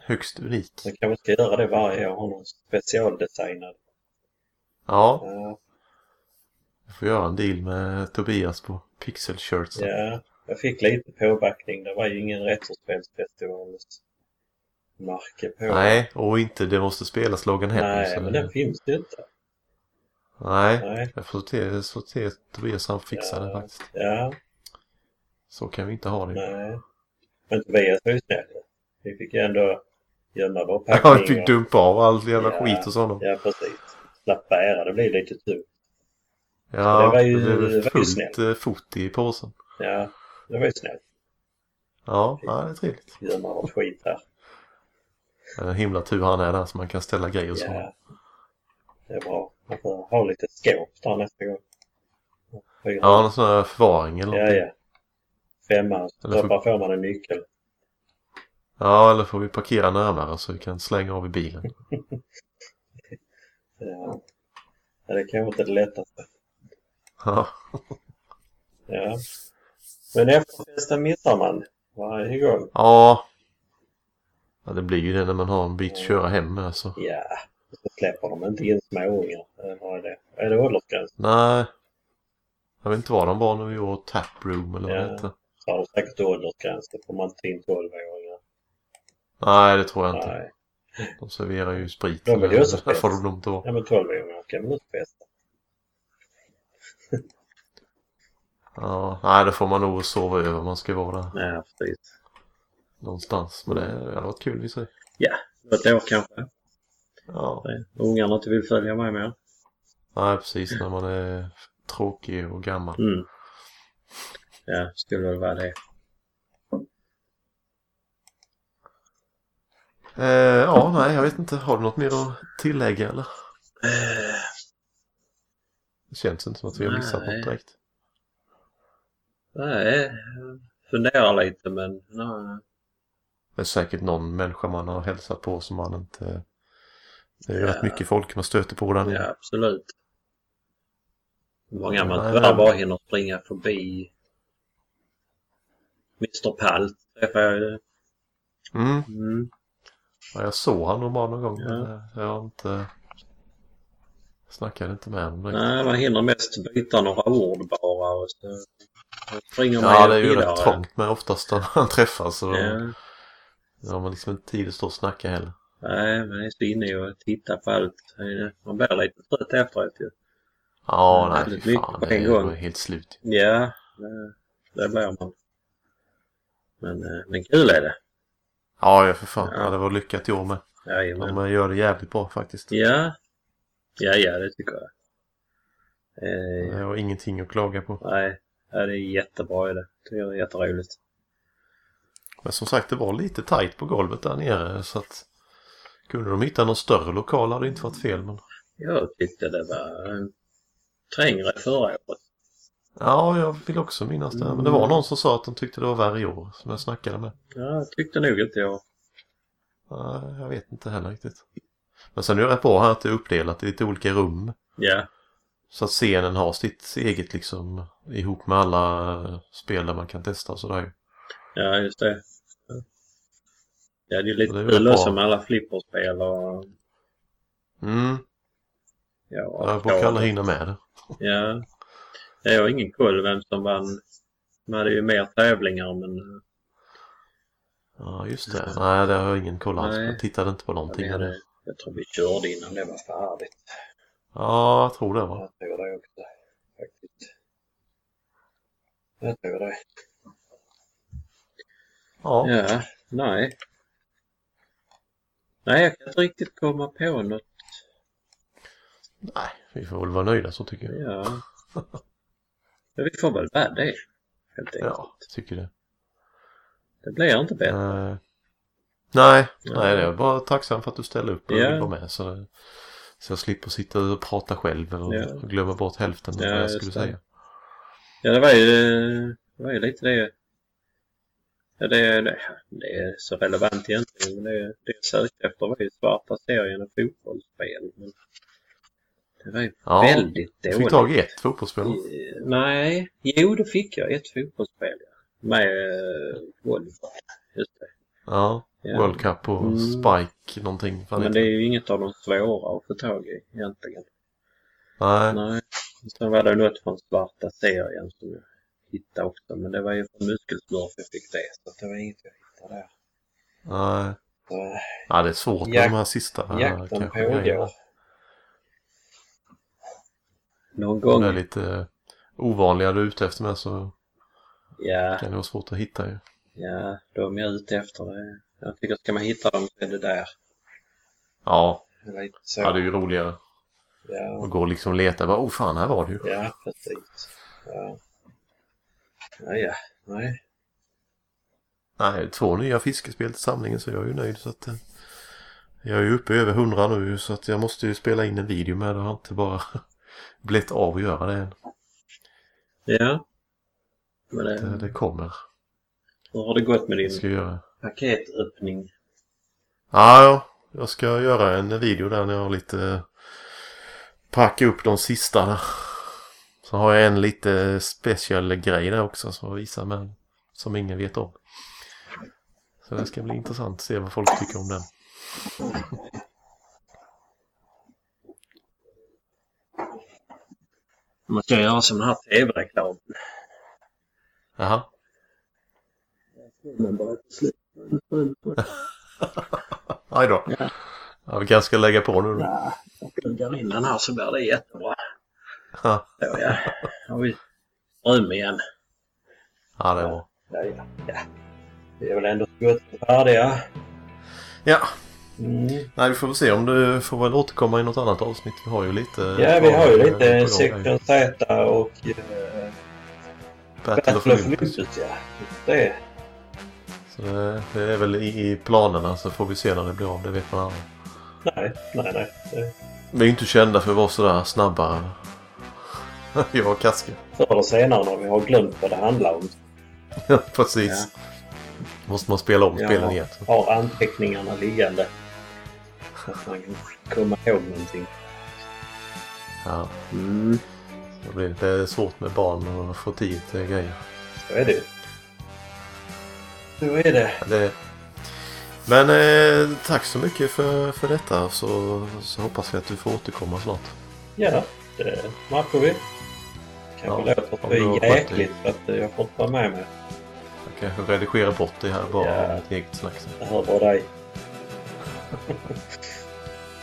[SPEAKER 1] Högst unikt.
[SPEAKER 2] så kanske ska göra det varje år. Ha någon specialdesignad.
[SPEAKER 1] Ja.
[SPEAKER 2] Ja,
[SPEAKER 1] Vi får göra en deal med Tobias på Pixel Shirts.
[SPEAKER 2] ja, jag fick lite påbackning. Det var ju ingen retrospelsfestivalens märke på.
[SPEAKER 1] Nej, och inte det måste spelas loggan heller.
[SPEAKER 2] Nej,
[SPEAKER 1] så-
[SPEAKER 2] men den finns ju inte.
[SPEAKER 1] Nej,
[SPEAKER 2] Nej,
[SPEAKER 1] jag får till, så till Tobias han fixar det
[SPEAKER 2] Ja.
[SPEAKER 1] faktiskt.
[SPEAKER 2] ja,
[SPEAKER 1] Så kan vi inte ha det.
[SPEAKER 2] nej. Men Tobias var ju snäll. Vi fick ju ändå gömma vår
[SPEAKER 1] Ja, vi
[SPEAKER 2] packning.
[SPEAKER 1] fick dumpa av all jävla
[SPEAKER 2] Ja.
[SPEAKER 1] skit hos honom.
[SPEAKER 2] och- Ja, precis. Slapp bära. Det blev lite tur.
[SPEAKER 1] Ja,
[SPEAKER 2] det
[SPEAKER 1] det,
[SPEAKER 2] var ju- det var
[SPEAKER 1] blev
[SPEAKER 2] ju
[SPEAKER 1] fullt
[SPEAKER 2] snällt.
[SPEAKER 1] eh, fot i påsen.
[SPEAKER 2] Ja, det var ju snällt.
[SPEAKER 1] Ja, ja, det är trevligt.
[SPEAKER 2] Gömma vår skit här.
[SPEAKER 1] Det är En himla tur han är där så man kan ställa grejer och så.
[SPEAKER 2] Ja. Det är bra. Man får ha lite skåp där nästa gång. Fyra.
[SPEAKER 1] Ja, någon sån här förvaring eller
[SPEAKER 2] ja,
[SPEAKER 1] någonting.
[SPEAKER 2] ja. Femma. Så
[SPEAKER 1] Eller får-
[SPEAKER 2] bara får man en nyckel.
[SPEAKER 1] Ja, eller får vi parkera närmare så vi kan slänga av i bilen.
[SPEAKER 2] Ja. Ja, det kanske inte är det lättaste.
[SPEAKER 1] Ja,
[SPEAKER 2] Ja. Men efterfesten missar man varje gång.
[SPEAKER 1] ja. ja det blir ju det när man har en bit att köra hem med så.
[SPEAKER 2] Ja, så släpper de inte in småungar. Eller Vad är det? Är det åldersgräns?
[SPEAKER 1] Nej. Jag vet inte var de var när vi åt Taproom eller vad
[SPEAKER 2] Ja.
[SPEAKER 1] det hette.
[SPEAKER 2] Så har de säkert åldersgräns. Då får man inte in 12-åringar.
[SPEAKER 1] Nej, det tror jag inte.
[SPEAKER 2] Nej.
[SPEAKER 1] De serverar ju sprit.
[SPEAKER 2] De vill
[SPEAKER 1] eller-
[SPEAKER 2] ju också
[SPEAKER 1] det
[SPEAKER 2] sprit.
[SPEAKER 1] får de nog inte vara.
[SPEAKER 2] Ja, men 12-åringar kan väl inte festa?
[SPEAKER 1] Ja, nej, då får man nog sova över om man ska vara där
[SPEAKER 3] Nej, precis.
[SPEAKER 1] någonstans. Men det det hade varit kul i sig.
[SPEAKER 3] Något år kanske.
[SPEAKER 1] Ja,
[SPEAKER 3] Ungarna inte vill följa med mer.
[SPEAKER 1] nej, precis när man är tråkig och gammal.
[SPEAKER 3] Mm. Ja, skulle väl vara det.
[SPEAKER 1] Eh, ja, nej, jag vet inte. Har du något mer att tillägga eller?
[SPEAKER 3] Eh,
[SPEAKER 1] Det känns inte som att vi har missat
[SPEAKER 3] Nej.
[SPEAKER 1] något direkt.
[SPEAKER 3] Nej, funderar lite men... Nej.
[SPEAKER 1] Det är säkert någon människa man har hälsat på som man inte... Det är ju
[SPEAKER 3] Ja.
[SPEAKER 1] rätt mycket folk man stöter på där nere.
[SPEAKER 3] Ja, absolut. Många man
[SPEAKER 1] Nej,
[SPEAKER 3] tyvärr
[SPEAKER 1] men-
[SPEAKER 3] bara hinner springa förbi. Mr Palt träffade jag ju.
[SPEAKER 1] Mm.
[SPEAKER 3] Mm.
[SPEAKER 1] Ja, jag såg han nog bara någon gång.
[SPEAKER 3] Ja.
[SPEAKER 1] men eh, Jag har inte... Snackade inte med honom direkt.
[SPEAKER 3] Nej, man hinner mest byta några ord bara och så så springer man
[SPEAKER 1] Ja,
[SPEAKER 3] ju
[SPEAKER 1] det är ju
[SPEAKER 3] vidare.
[SPEAKER 1] rätt trångt med oftast när man träffas. Så då
[SPEAKER 3] Ja.
[SPEAKER 1] då har man liksom inte tid att stå och snacka heller.
[SPEAKER 3] Nej, man är så inne och tittar på allt. Man blir lite trött efteråt ju.
[SPEAKER 1] Ja,
[SPEAKER 3] Ja,
[SPEAKER 1] nej
[SPEAKER 3] väldigt
[SPEAKER 1] fy fan.
[SPEAKER 3] mycket på
[SPEAKER 1] Det
[SPEAKER 3] en
[SPEAKER 1] är
[SPEAKER 3] gång.
[SPEAKER 1] man är helt slut.
[SPEAKER 3] Ja, det- det blir man. Men, eh, men kul är det.
[SPEAKER 1] Ja, ja för fan.
[SPEAKER 3] Ja.
[SPEAKER 1] Ja. det var lyckat i år med.
[SPEAKER 3] Jajamän.
[SPEAKER 1] Men man gör det jävligt bra faktiskt.
[SPEAKER 3] Ja. ja, ja det tycker jag.
[SPEAKER 2] Eh,
[SPEAKER 1] Jag har ingenting att klaga på.
[SPEAKER 2] nej, ja, det är jättebra idé. Tycker det är jätteroligt.
[SPEAKER 1] Men som sagt, det var lite tajt på golvet där nere så att kunde de hitta någon större lokal hade det inte varit fel. Men...
[SPEAKER 2] Jag tyckte det var eh, trängre förra året.
[SPEAKER 1] Ja, jag vill också minnas det. Men det
[SPEAKER 3] Mm.
[SPEAKER 1] var någon som sa att de tyckte det var värre i år som jag snackade med.
[SPEAKER 2] Ja, jag tyckte nog inte jag.
[SPEAKER 1] Nej, jag vet inte heller riktigt. Men sen är det rätt bra här att det är uppdelat i lite olika rum.
[SPEAKER 2] Ja,
[SPEAKER 1] Så att scenen har sitt eget liksom ihop med alla eh, spel där man kan testa och sådär.
[SPEAKER 2] ja just det. Ja. Ja, det är lite
[SPEAKER 1] Det är väl
[SPEAKER 2] kul
[SPEAKER 1] bra.
[SPEAKER 2] också med alla flipperspel och...
[SPEAKER 1] Mm,
[SPEAKER 2] Ja,
[SPEAKER 1] jag brukar aldrig hinna med det.
[SPEAKER 2] Ja. Ja, Jag har ingen koll vem som vann. Man hade ju mer tävlingar men eh,
[SPEAKER 1] Ja, just det. Nej, det har jag ingen koll alls på.
[SPEAKER 2] Nej.
[SPEAKER 1] Jag tittade inte på någonting. av
[SPEAKER 2] vi hade,
[SPEAKER 1] det.
[SPEAKER 2] jag tror vi körde
[SPEAKER 4] Men
[SPEAKER 2] innan det.
[SPEAKER 4] det var färdigt.
[SPEAKER 1] Ja, jag tror det var.
[SPEAKER 4] Jag tror det också. Faktiskt. Jag tror det.
[SPEAKER 1] Ja,
[SPEAKER 2] Ja, nej. Nej, jag kan inte riktigt komma på något.
[SPEAKER 1] nej, vi får väl vara nöjda så tycker jag.
[SPEAKER 2] Ja. Men vi får väl vara det. Helt enkelt.
[SPEAKER 1] Ja, tycker det.
[SPEAKER 2] Det blir inte bättre.
[SPEAKER 1] Eh, nej, nej, det är bara tacksam för att du ställer upp och
[SPEAKER 2] Ja.
[SPEAKER 1] vill vara med. Så, det- så jag slipper sitta och prata själv och,
[SPEAKER 2] Ja.
[SPEAKER 1] och glömma bort hälften av
[SPEAKER 2] Ja,
[SPEAKER 1] vad jag
[SPEAKER 2] just
[SPEAKER 1] skulle
[SPEAKER 2] det.
[SPEAKER 1] säga.
[SPEAKER 2] Ja, det var ju, det var ju lite det. Ja, det, det, det är så relevant egentligen. Men det, det jag sökte efter var ju svarta serien och fotbollsspel. Men det var ju
[SPEAKER 1] Ja,
[SPEAKER 2] väldigt
[SPEAKER 1] du
[SPEAKER 2] dåligt.
[SPEAKER 1] fick tag i ett fotbollsspel.
[SPEAKER 2] Eh, Nej, jo det fick jag. Ett fotbollsspel ja. Med eh, Volvo. Just det.
[SPEAKER 1] Ja,
[SPEAKER 2] Ja.
[SPEAKER 1] World Cup och
[SPEAKER 2] Mm.
[SPEAKER 1] Spike någonting. Fan
[SPEAKER 2] Men
[SPEAKER 1] men
[SPEAKER 2] det är ju inget av de svåra att få tag i egentligen.
[SPEAKER 1] Nej,
[SPEAKER 2] Nej. Sen var det något från svarta serien som jag hittade också. Men det var ju från muskelsmurf jag fick det.
[SPEAKER 4] Så det var inget jag hittade där.
[SPEAKER 1] nej.
[SPEAKER 4] Så,
[SPEAKER 2] eh,
[SPEAKER 1] Ja, det är svårt med
[SPEAKER 4] Jak-
[SPEAKER 1] de här sista. eh,
[SPEAKER 4] jakten
[SPEAKER 1] kanske grejerna.
[SPEAKER 4] pågår.
[SPEAKER 2] Någon
[SPEAKER 1] De
[SPEAKER 2] gång.
[SPEAKER 1] är lite eh, ovanliga du är ute efter med så
[SPEAKER 2] Ja,
[SPEAKER 1] kan det vara svårt att hitta ju.
[SPEAKER 2] ja, de är ute efter det. Jag tycker ska man hitta dem så är det där.
[SPEAKER 1] Ja,
[SPEAKER 4] Det var inte så.
[SPEAKER 1] ja, det är ju roligare
[SPEAKER 4] Ja,
[SPEAKER 1] att gå och liksom leta. Bara, oh fan, här var det ju.
[SPEAKER 4] ja precis. Ja. Ja, ja. Nej.
[SPEAKER 1] Nej, två nya fiskespel till samlingen så jag är ju nöjd. Så att, eh, jag är ju uppe över hundra nu så att jag måste ju spela in en video med. Det har inte bara blivit av att göra det än.
[SPEAKER 2] Ja. Men
[SPEAKER 1] eh, Det,
[SPEAKER 2] det,
[SPEAKER 1] det kommer.
[SPEAKER 2] hur har det gått med
[SPEAKER 1] Jag
[SPEAKER 2] din
[SPEAKER 1] ska göra.
[SPEAKER 2] paketöppning?
[SPEAKER 1] Ja, ja, jag ska göra en video där när jag har lite... eh, Packa upp de sista där. Så har jag en lite speciell grej där också som jag visar men som ingen vet om. Så det ska bli intressant att se vad folk tycker om den.
[SPEAKER 2] Man ska göra som den här tv-reklamen.
[SPEAKER 1] Jaha.
[SPEAKER 2] Men bara till slut.
[SPEAKER 1] Aj då. Ja, vi kanske ska lägga på nu då.
[SPEAKER 2] Ja, jag pluggar in den här så blir det jättebra.
[SPEAKER 1] Ja,
[SPEAKER 2] Så ja, har vi ström igen.
[SPEAKER 1] ja det är bra.
[SPEAKER 4] Ja, ja. ja. Vi är väl ändå skott färdiga.
[SPEAKER 1] Ja,
[SPEAKER 4] Mm.
[SPEAKER 1] nej, vi får väl se om du får väl återkomma i något annat avsnitt. Vi har ju lite...
[SPEAKER 4] Ja, vi har ju lite
[SPEAKER 1] på gång här.
[SPEAKER 4] Second Z och eh, Battle
[SPEAKER 1] Battle of
[SPEAKER 4] of
[SPEAKER 1] Olympus.
[SPEAKER 4] Olympus. Ja. Det.
[SPEAKER 1] Så eh, det, det är väl i, i planerna så får vi se när det blir av. Det vet man aldrig.
[SPEAKER 4] Nej, nej, nej. Det-
[SPEAKER 1] Vi är ju inte kända för att vara sådär snabba. Jag och Kaske.
[SPEAKER 4] Förr eller senare när vi har glömt vad det handlar om
[SPEAKER 1] Precis. Måste man spela om
[SPEAKER 4] Ja.
[SPEAKER 1] spelen igen.
[SPEAKER 4] har anteckningarna liggande. Så att man kan komma ihåg någonting.
[SPEAKER 1] Ja,
[SPEAKER 2] Mm.
[SPEAKER 1] det, blir, det är svårt med barn att få tid till grejer.
[SPEAKER 4] Så är det ju. Så är det.
[SPEAKER 1] Ja, Det... Men eh, tack så mycket för, för detta så, så hoppas vi att du får återkomma snart.
[SPEAKER 4] Ja, det märker vi. Kanske
[SPEAKER 1] Ja,
[SPEAKER 4] låter
[SPEAKER 1] om du har
[SPEAKER 4] för
[SPEAKER 1] skött
[SPEAKER 4] jäkligt för att eh, jag får inte vara med mig.
[SPEAKER 1] Jag kanske redigerar bort det här bara
[SPEAKER 4] Ja.
[SPEAKER 1] yeah. ett eget snack. sen.
[SPEAKER 4] Jag hör bara dig.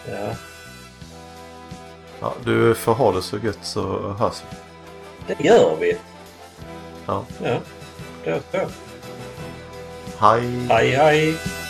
[SPEAKER 4] ja,
[SPEAKER 1] Ja, du får ha det så gött så hörs vi.
[SPEAKER 4] det gör vi.
[SPEAKER 1] Ja.
[SPEAKER 4] Ja, det är så.
[SPEAKER 1] Hej!
[SPEAKER 4] Hej, hej!